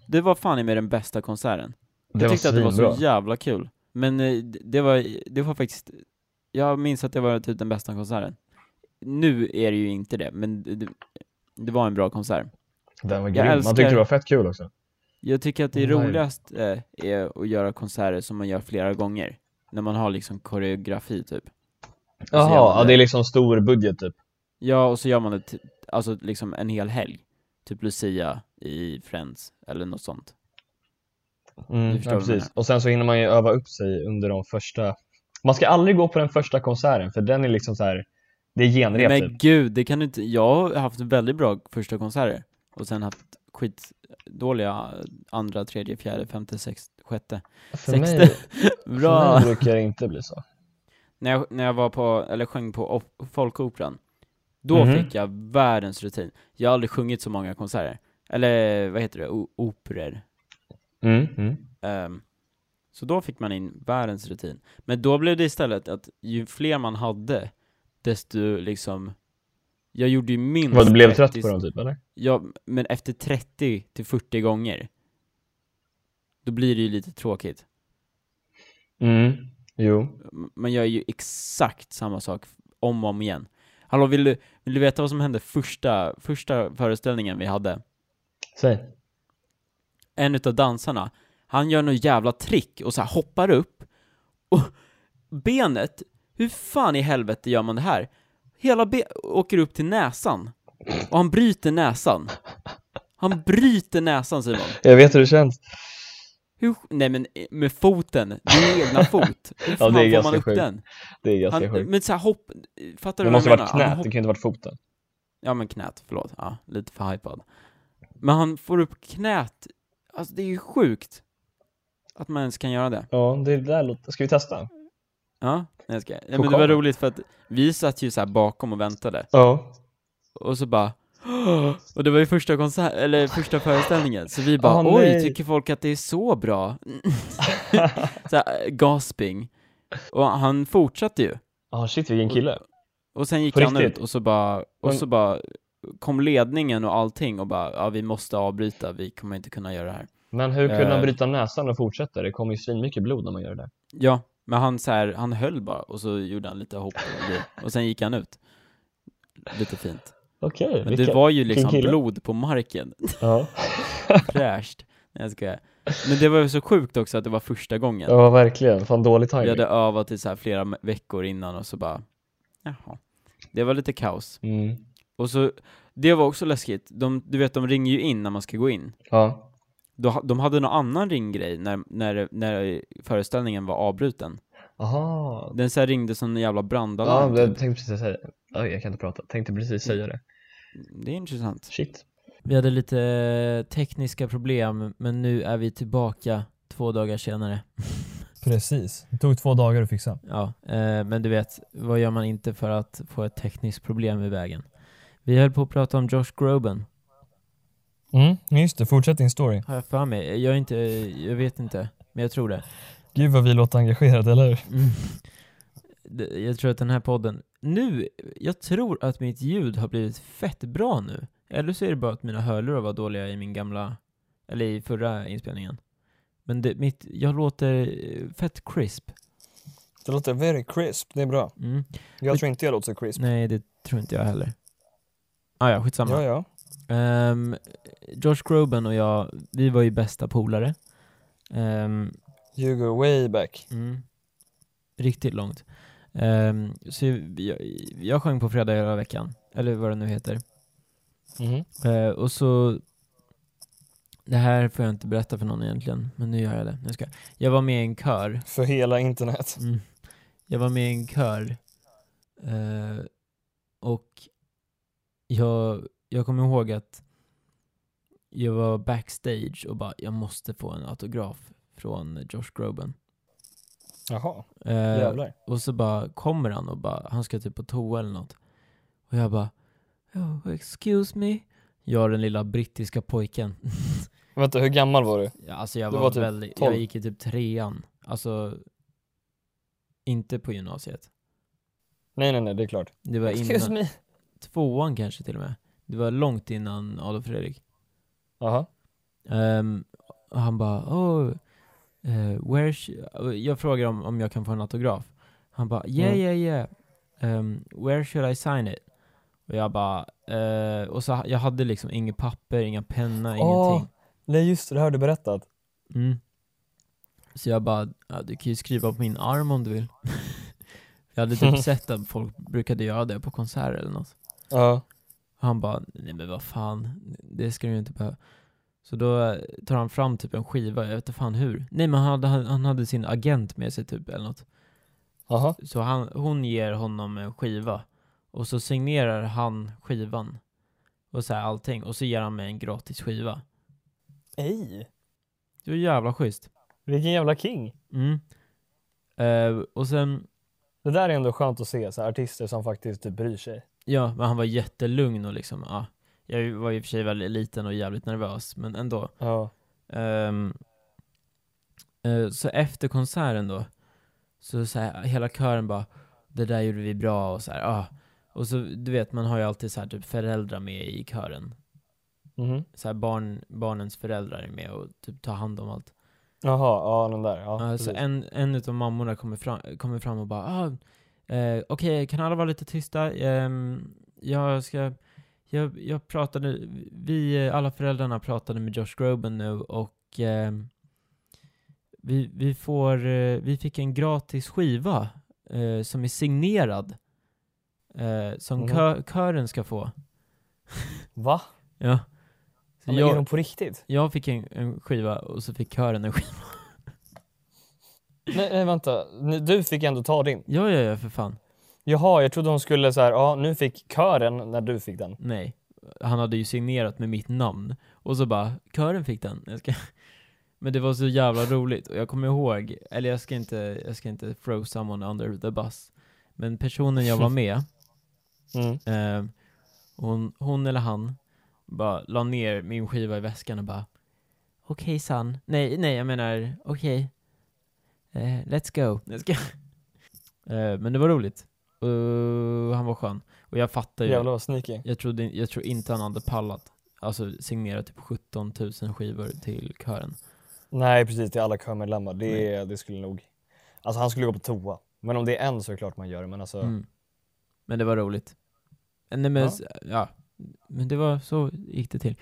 Speaker 1: Det var fan i mig den bästa konserten.
Speaker 2: det
Speaker 1: Jag
Speaker 2: var
Speaker 1: tyckte att det var
Speaker 2: svinbra.
Speaker 1: så jävla kul. Men eh, d- det var, det var faktiskt, jag minns att det var typ den bästa konserten. Nu är det ju inte det, men d- det, det var en bra konsert.
Speaker 2: Den var
Speaker 1: Jag
Speaker 2: grym.
Speaker 1: älskar-
Speaker 2: Man tyckte det var fett kul också.
Speaker 1: Jag tycker att det
Speaker 2: Mm, nej.
Speaker 1: roligast eh, är att göra konserter som man gör flera gånger. När man har liksom koreografi typ.
Speaker 2: Jaha,
Speaker 1: jävla
Speaker 2: ja,
Speaker 1: det.
Speaker 2: det är liksom stor budget typ.
Speaker 1: Ja, och så gör man det, t- alltså liksom en hel helg. Typ Lucia i Friends, eller något sånt.
Speaker 2: Mm,
Speaker 1: förstår
Speaker 2: ja,
Speaker 1: vad jag
Speaker 2: precis.
Speaker 1: menar.
Speaker 2: Och sen så hinner man ju öva upp sig under de första... Man ska aldrig gå på den första konserten för den är liksom så här. det är genrep typ.
Speaker 1: Men gud, det kan du inte, jag har haft väldigt bra första konserter. Och sen haft skitdåliga andra, tredje, fjärde, femte, sex, sjätte.
Speaker 2: För mig,
Speaker 1: sexte.
Speaker 2: för
Speaker 1: Bra!
Speaker 2: mig brukar det inte bli så.
Speaker 1: när, jag, när jag var på, eller sjöng på op- Folkoperan, då
Speaker 2: Mhm.
Speaker 1: fick jag världens rutin. Jag har aldrig sjungit så många konserter. Eller vad heter det? O- operor.
Speaker 2: Mm, mm.
Speaker 1: Ehm, så då fick man in världens rutin. Men då blev det istället att ju fler man hade, desto liksom jag gjorde ju minst
Speaker 2: Mm. Vad, du blev
Speaker 1: 30
Speaker 2: trött på dem typ eller?
Speaker 1: Ja, men efter 30 till 40 gånger Då blir det ju lite tråkigt
Speaker 2: Mm, jo.
Speaker 1: M- Man gör ju exakt samma sak f- om och om igen Hallå, vill du, vill du veta vad som hände första, första föreställningen vi hade?
Speaker 2: Säg.
Speaker 1: en utav dansarna, han gör något jävla trick och så här hoppar upp och benet, hur fan i helvete gör man det här? Hela benet åker upp till näsan och han bryter näsan. Han bryter näsan Simon.
Speaker 2: Jag vet hur det känns.
Speaker 1: Hur, nej men eh, med foten, din egna fot. Hur fan
Speaker 2: det
Speaker 1: får
Speaker 2: är
Speaker 1: man
Speaker 2: ganska
Speaker 1: upp
Speaker 2: sjukt.
Speaker 1: den?
Speaker 2: Det är ganska
Speaker 1: Han,
Speaker 2: sjukt.
Speaker 1: men så här hopp, fattar du vad
Speaker 2: Det måste
Speaker 1: jag
Speaker 2: ha
Speaker 1: menar?
Speaker 2: varit
Speaker 1: Han
Speaker 2: knät, det
Speaker 1: hopp,
Speaker 2: kan ju inte ha varit foten.
Speaker 1: ja men knät, förlåt. Ja, lite för hypad. Men han får upp knät, alltså det är ju sjukt. Att man ens kan göra det.
Speaker 2: Ja, det där låter... Ska vi testa?
Speaker 1: Ja, nej, jag ska. Ja, men det
Speaker 2: Chockad.
Speaker 1: var roligt för att vi satt ju så här bakom och väntade
Speaker 2: Ja.
Speaker 1: och så bara och det var ju första konsert, eller första föreställningen, så vi bara
Speaker 2: Åh,
Speaker 1: oj,
Speaker 2: nej.
Speaker 1: tycker folk att det är så bra? så här, eh, gasping. Och han fortsatte ju.
Speaker 2: Ja, Ah, shit vilken kille.
Speaker 1: Och sen gick
Speaker 2: På
Speaker 1: han
Speaker 2: riktigt?
Speaker 1: ut och så bara, och
Speaker 2: Men-
Speaker 1: så bara kom ledningen och allting och bara ja, vi måste avbryta, vi kommer inte kunna göra det här.
Speaker 2: Men hur kunde
Speaker 1: Eh.
Speaker 2: han bryta näsan och fortsätta? Det kommer ju svinmycket blod när man gör det.
Speaker 1: Ja, men han så här, han höll bara och så gjorde han lite hopp och grejer. och sen gick han ut. Lite fint.
Speaker 2: Okej,
Speaker 1: Men
Speaker 2: vilken-
Speaker 1: det var ju liksom
Speaker 2: kille.
Speaker 1: blod på marken,
Speaker 2: Ja.
Speaker 1: fräscht. Nej jag skojar. Men det var ju så sjukt också att det var första gången.
Speaker 2: ja, verkligen. Fan dålig
Speaker 1: Vi
Speaker 2: timing.
Speaker 1: hade övat i så här flera me- veckor innan och så bara, jaha. Det var lite kaos.
Speaker 2: Mm.
Speaker 1: Och så, det var också läskigt. De, du vet, de ringer ju in när man ska gå in.
Speaker 2: Ja.
Speaker 1: De, ha- de hade någon annan ringgrej när, när, när föreställningen var avbruten.
Speaker 2: Aha.
Speaker 1: Den så här ringde som en jävla brandalarm.
Speaker 2: Ja, jag
Speaker 1: typ. Mm.
Speaker 2: tänkte precis säga Oj, jag kan inte prata. Tänkte precis säga det.
Speaker 1: Det är intressant.
Speaker 2: Shit.
Speaker 3: Vi hade lite tekniska problem, men nu är vi tillbaka två dagar senare.
Speaker 4: Precis. Det tog två dagar att fixa.
Speaker 3: Ja, eh, men du vet, vad gör man inte för att få ett tekniskt problem i vägen? Vi höll på att prata om Josh Groban,
Speaker 4: Mm, just det. Fortsätt din story.
Speaker 3: har jag för mig. Jag, är inte, jag vet inte, men jag tror det.
Speaker 4: Gud vad vi låter engagerade, eller hur?
Speaker 3: Mm. Det- Jag tror att den här podden... Nu, jag tror att mitt ljud har blivit fett bra nu. Eller så är det bara att mina hörlurar var dåliga i min gamla... Eller i förra inspelningen. Men det, mitt, jag låter eh, fett crisp.
Speaker 4: Det låter very crisp. Det är bra.
Speaker 3: Mm.
Speaker 4: Jag tror inte jag låter så crisp.
Speaker 3: Nej, det tror inte jag heller. Ah, ja, skitsamma.
Speaker 4: Ja, ja.
Speaker 3: Ehm, Josh Groban och jag, vi var ju bästa polare. Ehm,
Speaker 4: You go way back.
Speaker 3: Mm. Riktigt långt. Ehm, så jag, jag sjöng på fredag hela veckan, eller vad det nu heter.
Speaker 4: Mhm.
Speaker 3: Eh, och så... Det här får jag inte berätta för någon egentligen, men nu gör jag det. Nu ska jag. jag var med i en kör.
Speaker 4: För hela internet.
Speaker 3: Mm. Jag var med i en kör. Eh, och jag, jag kommer ihåg att jag var backstage och bara, jag måste få en autograf
Speaker 1: från Josh Groban.
Speaker 4: Jaha,
Speaker 1: Eh,
Speaker 4: jävlar.
Speaker 1: och så bara kommer han och bara, han ska typ på toa eller något. Och jag bara, oh, excuse me. Jag den lilla brittiska pojken.
Speaker 4: Vänta, hur gammal var du?
Speaker 1: Ja, alltså jag
Speaker 4: Du
Speaker 1: var,
Speaker 4: var typ
Speaker 1: väldigt,
Speaker 4: 12.
Speaker 1: jag gick i typ trean. Alltså, inte på gymnasiet.
Speaker 4: Nej, nej, nej, det är klart.
Speaker 1: Det var
Speaker 4: Excuse
Speaker 1: innan,
Speaker 4: me.
Speaker 1: tvåan kanske till och med. Det var långt innan Adolf Fredrik.
Speaker 4: Jaha.
Speaker 1: Ehm, och han bara, oh, eh, where's... you-" Jag frågar om, om jag kan få en autograf. Han bara, yeah
Speaker 4: Mm.
Speaker 1: yeah yeah. Ehm, where should I sign it? Och jag bara, eh, och så jag hade liksom inget papper, inga penna, ingenting.
Speaker 4: Nej, just det, det har du berättat.
Speaker 1: Mm. Så jag bara, ja, du kan ju skriva på min arm om du vill. jag hade typ sett att folk brukade göra det på konserter eller något.
Speaker 4: Ja.
Speaker 1: Och han bara, nej men vad fan, det ska du ju inte behöva. Så då eh, tar han fram typ en skiva, jag vet inte fan hur. Nej men han hade, han han hade sin agent med sig typ eller något.
Speaker 4: Jaha.
Speaker 1: Så han, hon ger honom en skiva. Och så signerar han skivan. Och så här allting. Och så ger han mig en gratis skiva.
Speaker 4: Ej,
Speaker 1: Det var jävla schysst.
Speaker 4: vilken jävla king.
Speaker 1: Mm. Eh, och sen
Speaker 4: Det där är ändå skönt att se, så här, artister som faktiskt typ bryr sig.
Speaker 1: Ja, men han var jättelugn och liksom, ja. Jag var i och för sig väldigt liten och jävligt nervös, men ändå.
Speaker 4: Ja.
Speaker 1: Ehm, eh, så efter konserten då, så, så här, hela kören bara, det där gjorde vi bra och så här, ah. Och så, du vet, man har ju alltid så här, typ föräldrar med i kören.
Speaker 4: Mhm.
Speaker 1: Så här, barn, barnens föräldrar är med och typ tar hand om allt.
Speaker 4: Jaha, ja den där.
Speaker 1: Ja,
Speaker 4: Ja,
Speaker 1: så
Speaker 4: precis.
Speaker 1: en, en utav mammorna kommer fram, kommer fram och bara ah, eh, okej, kan alla vara lite tysta? Ehm, jag ska, jag, jag pratade, vi eh, alla föräldrarna pratade med Josh Groban nu och ehm, vi, vi får, eh, vi fick en gratis skiva eh, som är signerad eh, som
Speaker 4: Mhm.
Speaker 1: kö, kören ska få.
Speaker 4: Va?
Speaker 1: Ja. Så
Speaker 4: Ja, men Är
Speaker 1: jag,
Speaker 4: de på riktigt?
Speaker 1: jag fick en, en skiva och så fick kören en skiva.
Speaker 4: Nej, nej vänta, Ni- du fick ändå ta din.
Speaker 1: Ja, ja, ja, för fan.
Speaker 4: Jaha, jag trodde hon skulle så här, ja nu fick kören när du fick den.
Speaker 1: Nej, han hade ju signerat med mitt namn. Och så bara, kören fick den. Jag ska... Men det var så jävla roligt, och jag kommer ihåg, eller jag ska inte, jag ska inte throw someone under the bus. Men personen jag var med,
Speaker 4: Mm.
Speaker 1: eh, hon, hon eller han, bara la ner min skiva i väskan och bara Okej son, nej, nej jag menar okej. Eh, let's go. Jag ska... eh, men det var roligt. Och han var skön. Och jag fattar ju.
Speaker 4: Jävlar vad sneaky.
Speaker 1: Jag, trodde, jag tror inte han hade pallat. Alltså signera typ 17 000 skivor till kören.
Speaker 4: Nej precis, till alla körmedlemmar. Det, det skulle nog... Alltså han skulle gå på toa. Men om det är en så är det klart man gör det. Men alltså,
Speaker 1: Mm. Men det var roligt. Eh, Nej men,
Speaker 4: Ja.
Speaker 1: ja. ja. Men det var, så gick det till.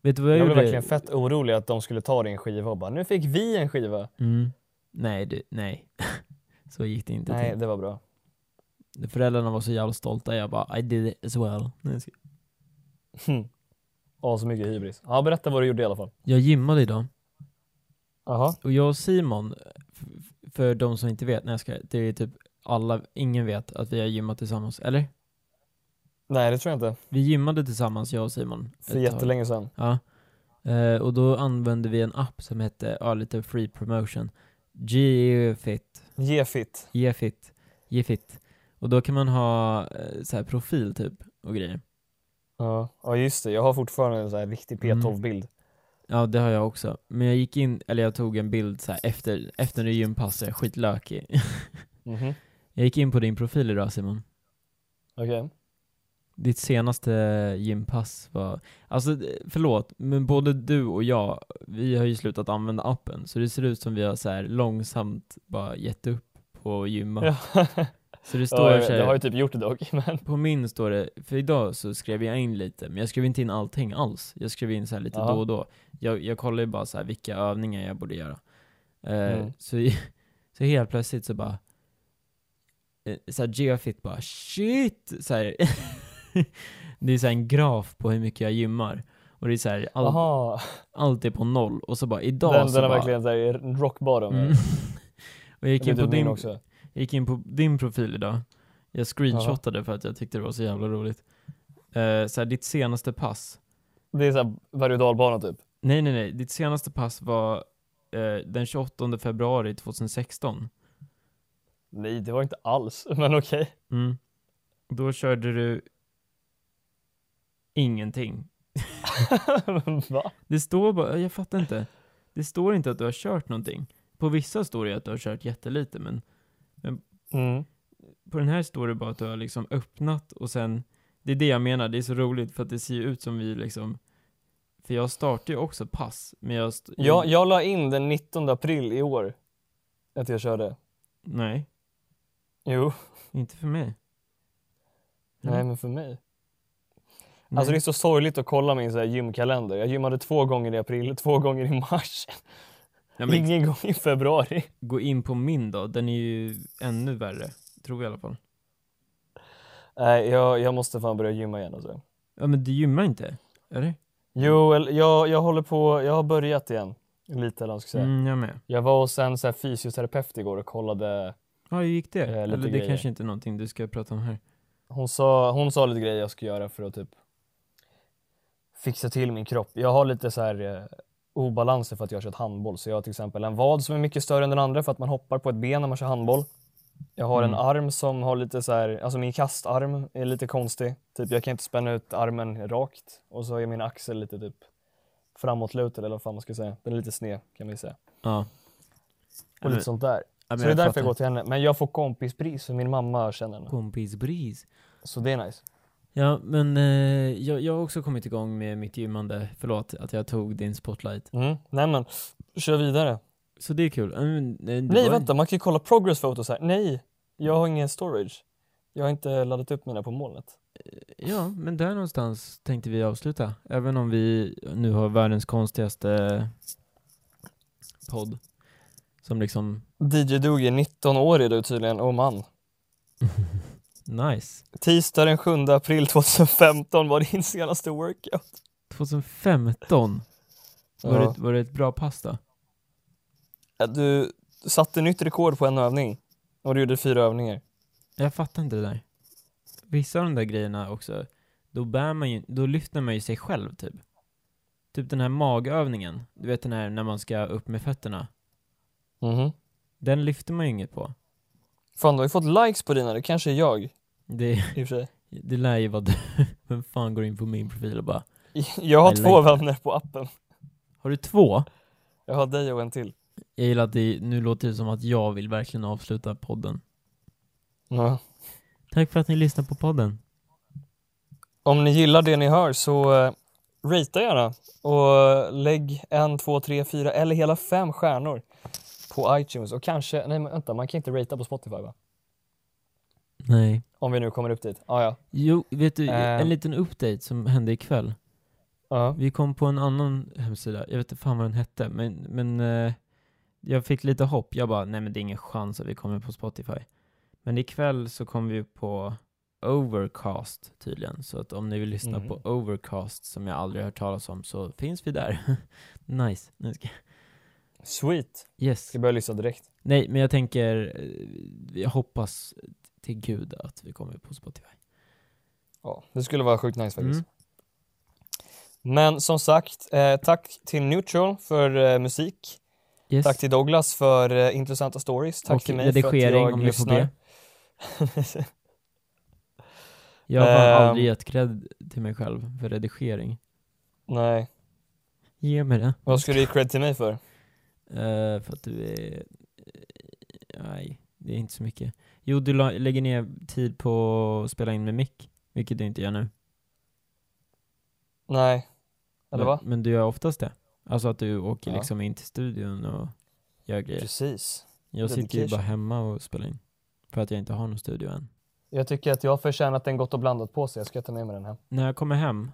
Speaker 1: Vet du vad
Speaker 4: jag
Speaker 1: jag,
Speaker 4: blev
Speaker 1: gjorde?
Speaker 4: verkligen fett orolig att de skulle ta din skiva och bara nu fick vi en skiva.
Speaker 1: Mm. Nej, det, nej. så gick det inte
Speaker 4: Nej, det var bra.
Speaker 1: till. Föräldrarna var så jävla stolta, jag bara I did it as well. Nej, jag ska-
Speaker 4: Ja, så Alltså, mycket hybris. Ja, berätta vad du gjorde i alla fall.
Speaker 1: Jag gymmade idag.
Speaker 4: Jaha.
Speaker 1: Och jag och Simon, f- f- för de som inte vet, när jag ska, det är typ alla, ingen vet att vi har gymmat tillsammans, eller?
Speaker 4: Nej, det tror jag inte.
Speaker 1: Vi gymmade tillsammans, jag och Simon.
Speaker 4: För
Speaker 1: ett tag.
Speaker 4: jättelänge sedan.
Speaker 1: Ja. Eh, och då använde vi en app som hette, ja lite free promotion. E Geofit.
Speaker 4: Gefit.
Speaker 1: Gefit. Gefit. E Och då kan man ha eh, så här profil typ och grejer.
Speaker 4: Ja. ja, just det. Jag har fortfarande en så här riktig
Speaker 1: Mm.
Speaker 4: P12-bild.
Speaker 1: Ja det har jag också. Men jag gick in, eller jag tog en bild så här efter, efter det gympasset, skitlökig.
Speaker 4: Mhm.
Speaker 1: jag gick in på din profil idag Simon.
Speaker 4: Okej.
Speaker 1: Ditt senaste eh, gympass var, alltså eh, förlåt, men både du och jag, vi har ju slutat använda appen, så det ser ut som vi har så här långsamt bara gett upp på att gymma.
Speaker 4: Ja.
Speaker 1: Så det står
Speaker 4: Ja,
Speaker 1: ja,
Speaker 4: jag, jag har ju typ gjort det dock, men...
Speaker 1: på min står det, för idag så skrev jag in lite, men jag skrev inte in allting alls. Jag skrev in så här lite
Speaker 4: Jaha.
Speaker 1: då och då. Jag, jag kollade ju bara så här vilka övningar jag borde göra. Eh,
Speaker 4: Mm.
Speaker 1: så, så helt plötsligt så bara, eh, så här geofit bara shit! Så här, det är så här en graf på hur mycket jag gymmar. Och det är så här, all,
Speaker 4: Jaha.
Speaker 1: allt är på noll. Och så bara idag
Speaker 4: Den,
Speaker 1: så
Speaker 4: den är
Speaker 1: bara,
Speaker 4: verkligen så här rock bottom.
Speaker 1: Mm. Och jag gick
Speaker 4: Det är
Speaker 1: in på
Speaker 4: typ min
Speaker 1: din,
Speaker 4: också.
Speaker 1: jag gick in på din profil idag. Jag screenshotade för att jag tyckte det var så jävla roligt. Eh, såhär, ditt senaste pass.
Speaker 4: Det är så här berg och dalbana typ.
Speaker 1: Nej, nej, nej. Ditt senaste pass var eh, den 28 februari 2016.
Speaker 4: Nej, det var inte alls, men okej.
Speaker 1: Mm. Då körde du ingenting.
Speaker 4: Men Va?
Speaker 1: Det står bara, jag fattar inte. Det står inte att du har kört någonting. På vissa står det att du har kört jättelite, men
Speaker 4: Mm.
Speaker 1: på den här står det bara att du har liksom öppnat och sen, det är det jag menar, det är så roligt för att det ser ju ut som vi liksom, för jag startar ju också pass, men jag... St-
Speaker 4: Jag, jag la in den 19 april i år att jag körde.
Speaker 1: Nej,
Speaker 4: Jo, Mm.
Speaker 1: inte för mig. Mm.
Speaker 4: nej men för mig. Alltså det är så sorgligt att kolla min så här gymkalender. Jag gymmade två gånger i april, två gånger i mars,
Speaker 1: ja, men
Speaker 4: ingen gång i februari.
Speaker 1: gå in på min då, den är ju ännu värre, tror jag i alla fall.
Speaker 4: Nej, jag, jag måste fan börja gymma igen alltså.
Speaker 1: Ja men du gymmar inte, eller?
Speaker 4: Jo, eller- jag, jag håller på, jag har börjat igen. Lite eller vad man ska säga.
Speaker 1: Mm, jag med.
Speaker 4: Jag var hos en så här fysioterapeut igår och kollade.
Speaker 1: Ja, hur gick det?
Speaker 4: Eh, lite
Speaker 1: Eller det
Speaker 4: grejer.
Speaker 1: kanske inte är någonting du ska prata om här.
Speaker 4: Hon sa, hon sa lite grejer jag ska göra för att typ fixa till min kropp. Jag har lite så här eh, obalanser för att jag har kört handboll. Så jag har till exempel en vad som är mycket större än den andra för att man hoppar på ett ben när man kör handboll. Jag har
Speaker 1: Mm.
Speaker 4: en arm som har lite så här, alltså min kastarm är lite konstig. Typ jag kan inte spänna ut armen rakt och så är min axel lite typ framåtlutad eller vad fan man ska säga. Den är lite sned kan vi säga.
Speaker 1: Ja.
Speaker 4: Och lite sånt där.
Speaker 1: Ja, men
Speaker 4: Så det är därför
Speaker 1: fattar.
Speaker 4: jag går till henne. Men jag får kompispris för min mamma känner henne.
Speaker 1: Kompis bris.
Speaker 4: Så det är nice.
Speaker 1: Ja, men eh, jag, jag har också kommit igång med mitt gymmande. Förlåt att jag tog din spotlight.
Speaker 4: Mm. Nej men, kör vidare.
Speaker 1: Så det är kul. Ja, men, eh, det
Speaker 4: Nej
Speaker 1: var-
Speaker 4: vänta, man kan ju kolla progress photos här. Nej, jag har ingen storage. Jag har inte laddat upp mina på molnet.
Speaker 1: Ja, men där någonstans tänkte vi avsluta. Även om vi nu har världens konstigaste podd. Som liksom,
Speaker 4: DJ Doogie, 19 år är du tydligen, oh man.
Speaker 1: nice.
Speaker 4: Tisdag den 7 april 2015 var din senaste workout.
Speaker 1: 2015, var,
Speaker 4: Ja.
Speaker 1: det, var det ett bra pass då?
Speaker 4: Ja, Du satte nytt rekord på en övning. Och du gjorde fyra övningar.
Speaker 1: Jag fattar inte det där. Vissa av de där grejerna också, då bär man ju, då lyfter man ju sig själv typ. Typ den här magövningen, du vet den här när man ska upp med fötterna.
Speaker 4: Mhm.
Speaker 1: Den lyfter man ju inget på.
Speaker 4: Fan, du har ju fått likes på dina, det kanske är jag i
Speaker 1: Det,
Speaker 4: och för sig.
Speaker 1: det lär ju vara du. Vem fan går in på min profil och bara
Speaker 4: Jag har
Speaker 1: I
Speaker 4: två
Speaker 1: like
Speaker 4: vänner på appen.
Speaker 1: Har du två?
Speaker 4: Jag har dig och en till.
Speaker 1: Jag gillar att det, nu låter det som att jag vill verkligen avsluta podden.
Speaker 4: Ja.
Speaker 1: Tack för att ni lyssnar på podden.
Speaker 4: Om ni gillar det ni hör så uh, ratea gärna och eh, lägg en, två, tre, fyra eller hela fem stjärnor på iTunes och kanske, nej men vänta, man kan inte ratea på Spotify va?
Speaker 1: Nej.
Speaker 4: Om vi nu kommer upp dit. Ah, ja.
Speaker 1: Jo, vet du,
Speaker 4: Eh.
Speaker 1: en liten update som hände ikväll.
Speaker 4: Ja.
Speaker 1: Vi kom på en annan hemsida, jag vet inte fan vad den hette, men, men eh, jag fick lite hopp. Jag bara, nej men det är ingen chans att vi kommer på Spotify. Men ikväll så kom vi upp på Overcast tydligen, så att om ni vill lyssna
Speaker 4: Mm.
Speaker 1: på Overcast som jag aldrig hört talas om så finns vi där. nice. Nu ska
Speaker 4: Sweet.
Speaker 1: Yes.
Speaker 4: Ska börja lyssna direkt.
Speaker 1: Nej, men jag tänker, eh, jag hoppas till gud att vi kommer på Spotify.
Speaker 4: Ja, det skulle vara sjukt nice faktiskt.
Speaker 1: Mm.
Speaker 4: Men som sagt, eh, tack till Neutral för eh, musik.
Speaker 1: Yes.
Speaker 4: Tack till Douglas för eh, intressanta stories. Tack
Speaker 1: Och
Speaker 4: till mig
Speaker 1: redigering
Speaker 4: för att jag
Speaker 1: om jag får
Speaker 4: lyssnar.
Speaker 1: be. Jag har fan
Speaker 4: Ehm.
Speaker 1: aldrig gett cred till mig själv för redigering.
Speaker 4: Nej,
Speaker 1: Ge mig det.
Speaker 4: vad ska du ge cred till mig för?
Speaker 1: Eh, för att du är... eh, Nej, det är inte så mycket. Jo, du la, lägger ner tid på att spela in med mick, vilket du inte gör nu.
Speaker 4: Nej. Eller
Speaker 1: men,
Speaker 4: va?
Speaker 1: men du gör oftast det. Alltså att du åker
Speaker 4: Ja.
Speaker 1: liksom in till studion och gör grejer.
Speaker 4: Precis.
Speaker 1: Jag sitter ju
Speaker 4: Dedication.
Speaker 1: bara hemma och spelar in. För att jag inte har någon studio än.
Speaker 4: Jag tycker att jag har förtjänat en gott och blandat på sig. Jag ska ta med mig den hem.
Speaker 1: När jag kommer hem,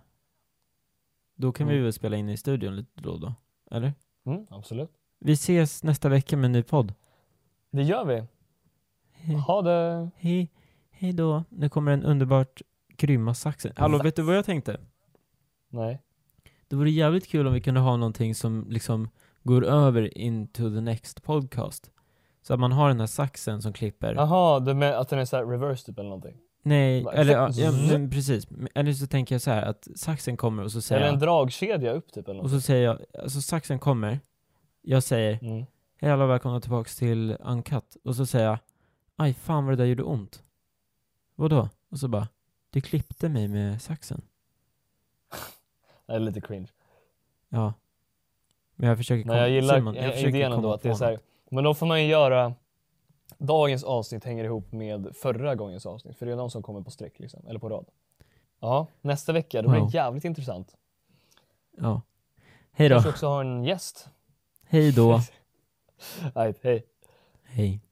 Speaker 1: då kan vi
Speaker 4: Mm.
Speaker 1: väl spela in i studion lite då och då? Eller?
Speaker 4: Mm, absolut.
Speaker 1: Vi ses nästa vecka med en ny podd.
Speaker 4: Det gör vi.
Speaker 1: Hej,
Speaker 4: Ha det.
Speaker 1: hej, hej då. Nu kommer den underbart grymma saxen. Hallå, vet du vad jag tänkte?
Speaker 4: Nej.
Speaker 1: Det vore jävligt kul om vi kunde ha någonting som liksom går över into the next podcast. Så att man har den här saxen som klipper.
Speaker 4: Jaha, du menar att den är så här reverse typ eller någonting?
Speaker 1: Nej,
Speaker 4: Bara-
Speaker 1: eller ja, ja, men precis. Eller så tänker jag så här att saxen kommer och så säger
Speaker 4: Eller
Speaker 1: jag-
Speaker 4: en dragkedja upp typ eller
Speaker 1: Och
Speaker 4: något?
Speaker 1: så säger jag, alltså saxen kommer, Jag säger
Speaker 4: Mm.
Speaker 1: Hej alla och välkomna tillbaks till Uncut. Och så säger jag Aj fan vad det där gjorde ont. Vadå? Och så bara Du klippte mig med saxen.
Speaker 4: Det är lite cringe.
Speaker 1: Ja. Men jag försöker
Speaker 4: Men jag gillar
Speaker 1: Simon,
Speaker 4: eh,
Speaker 1: försöker
Speaker 4: idén ändå
Speaker 1: komma
Speaker 4: att det är
Speaker 1: på
Speaker 4: så här,
Speaker 1: något.
Speaker 4: Men då får man ju göra... Dagens avsnitt hänger ihop med förra gångens avsnitt. För det är de som kommer på streck liksom, eller på rad. Ja, nästa vecka. Då blir
Speaker 1: Wow.
Speaker 4: det jävligt intressant.
Speaker 1: Ja. Hej då.
Speaker 4: Kanske också har en gäst.
Speaker 1: Hej då.
Speaker 4: Right, hej.
Speaker 1: Hej.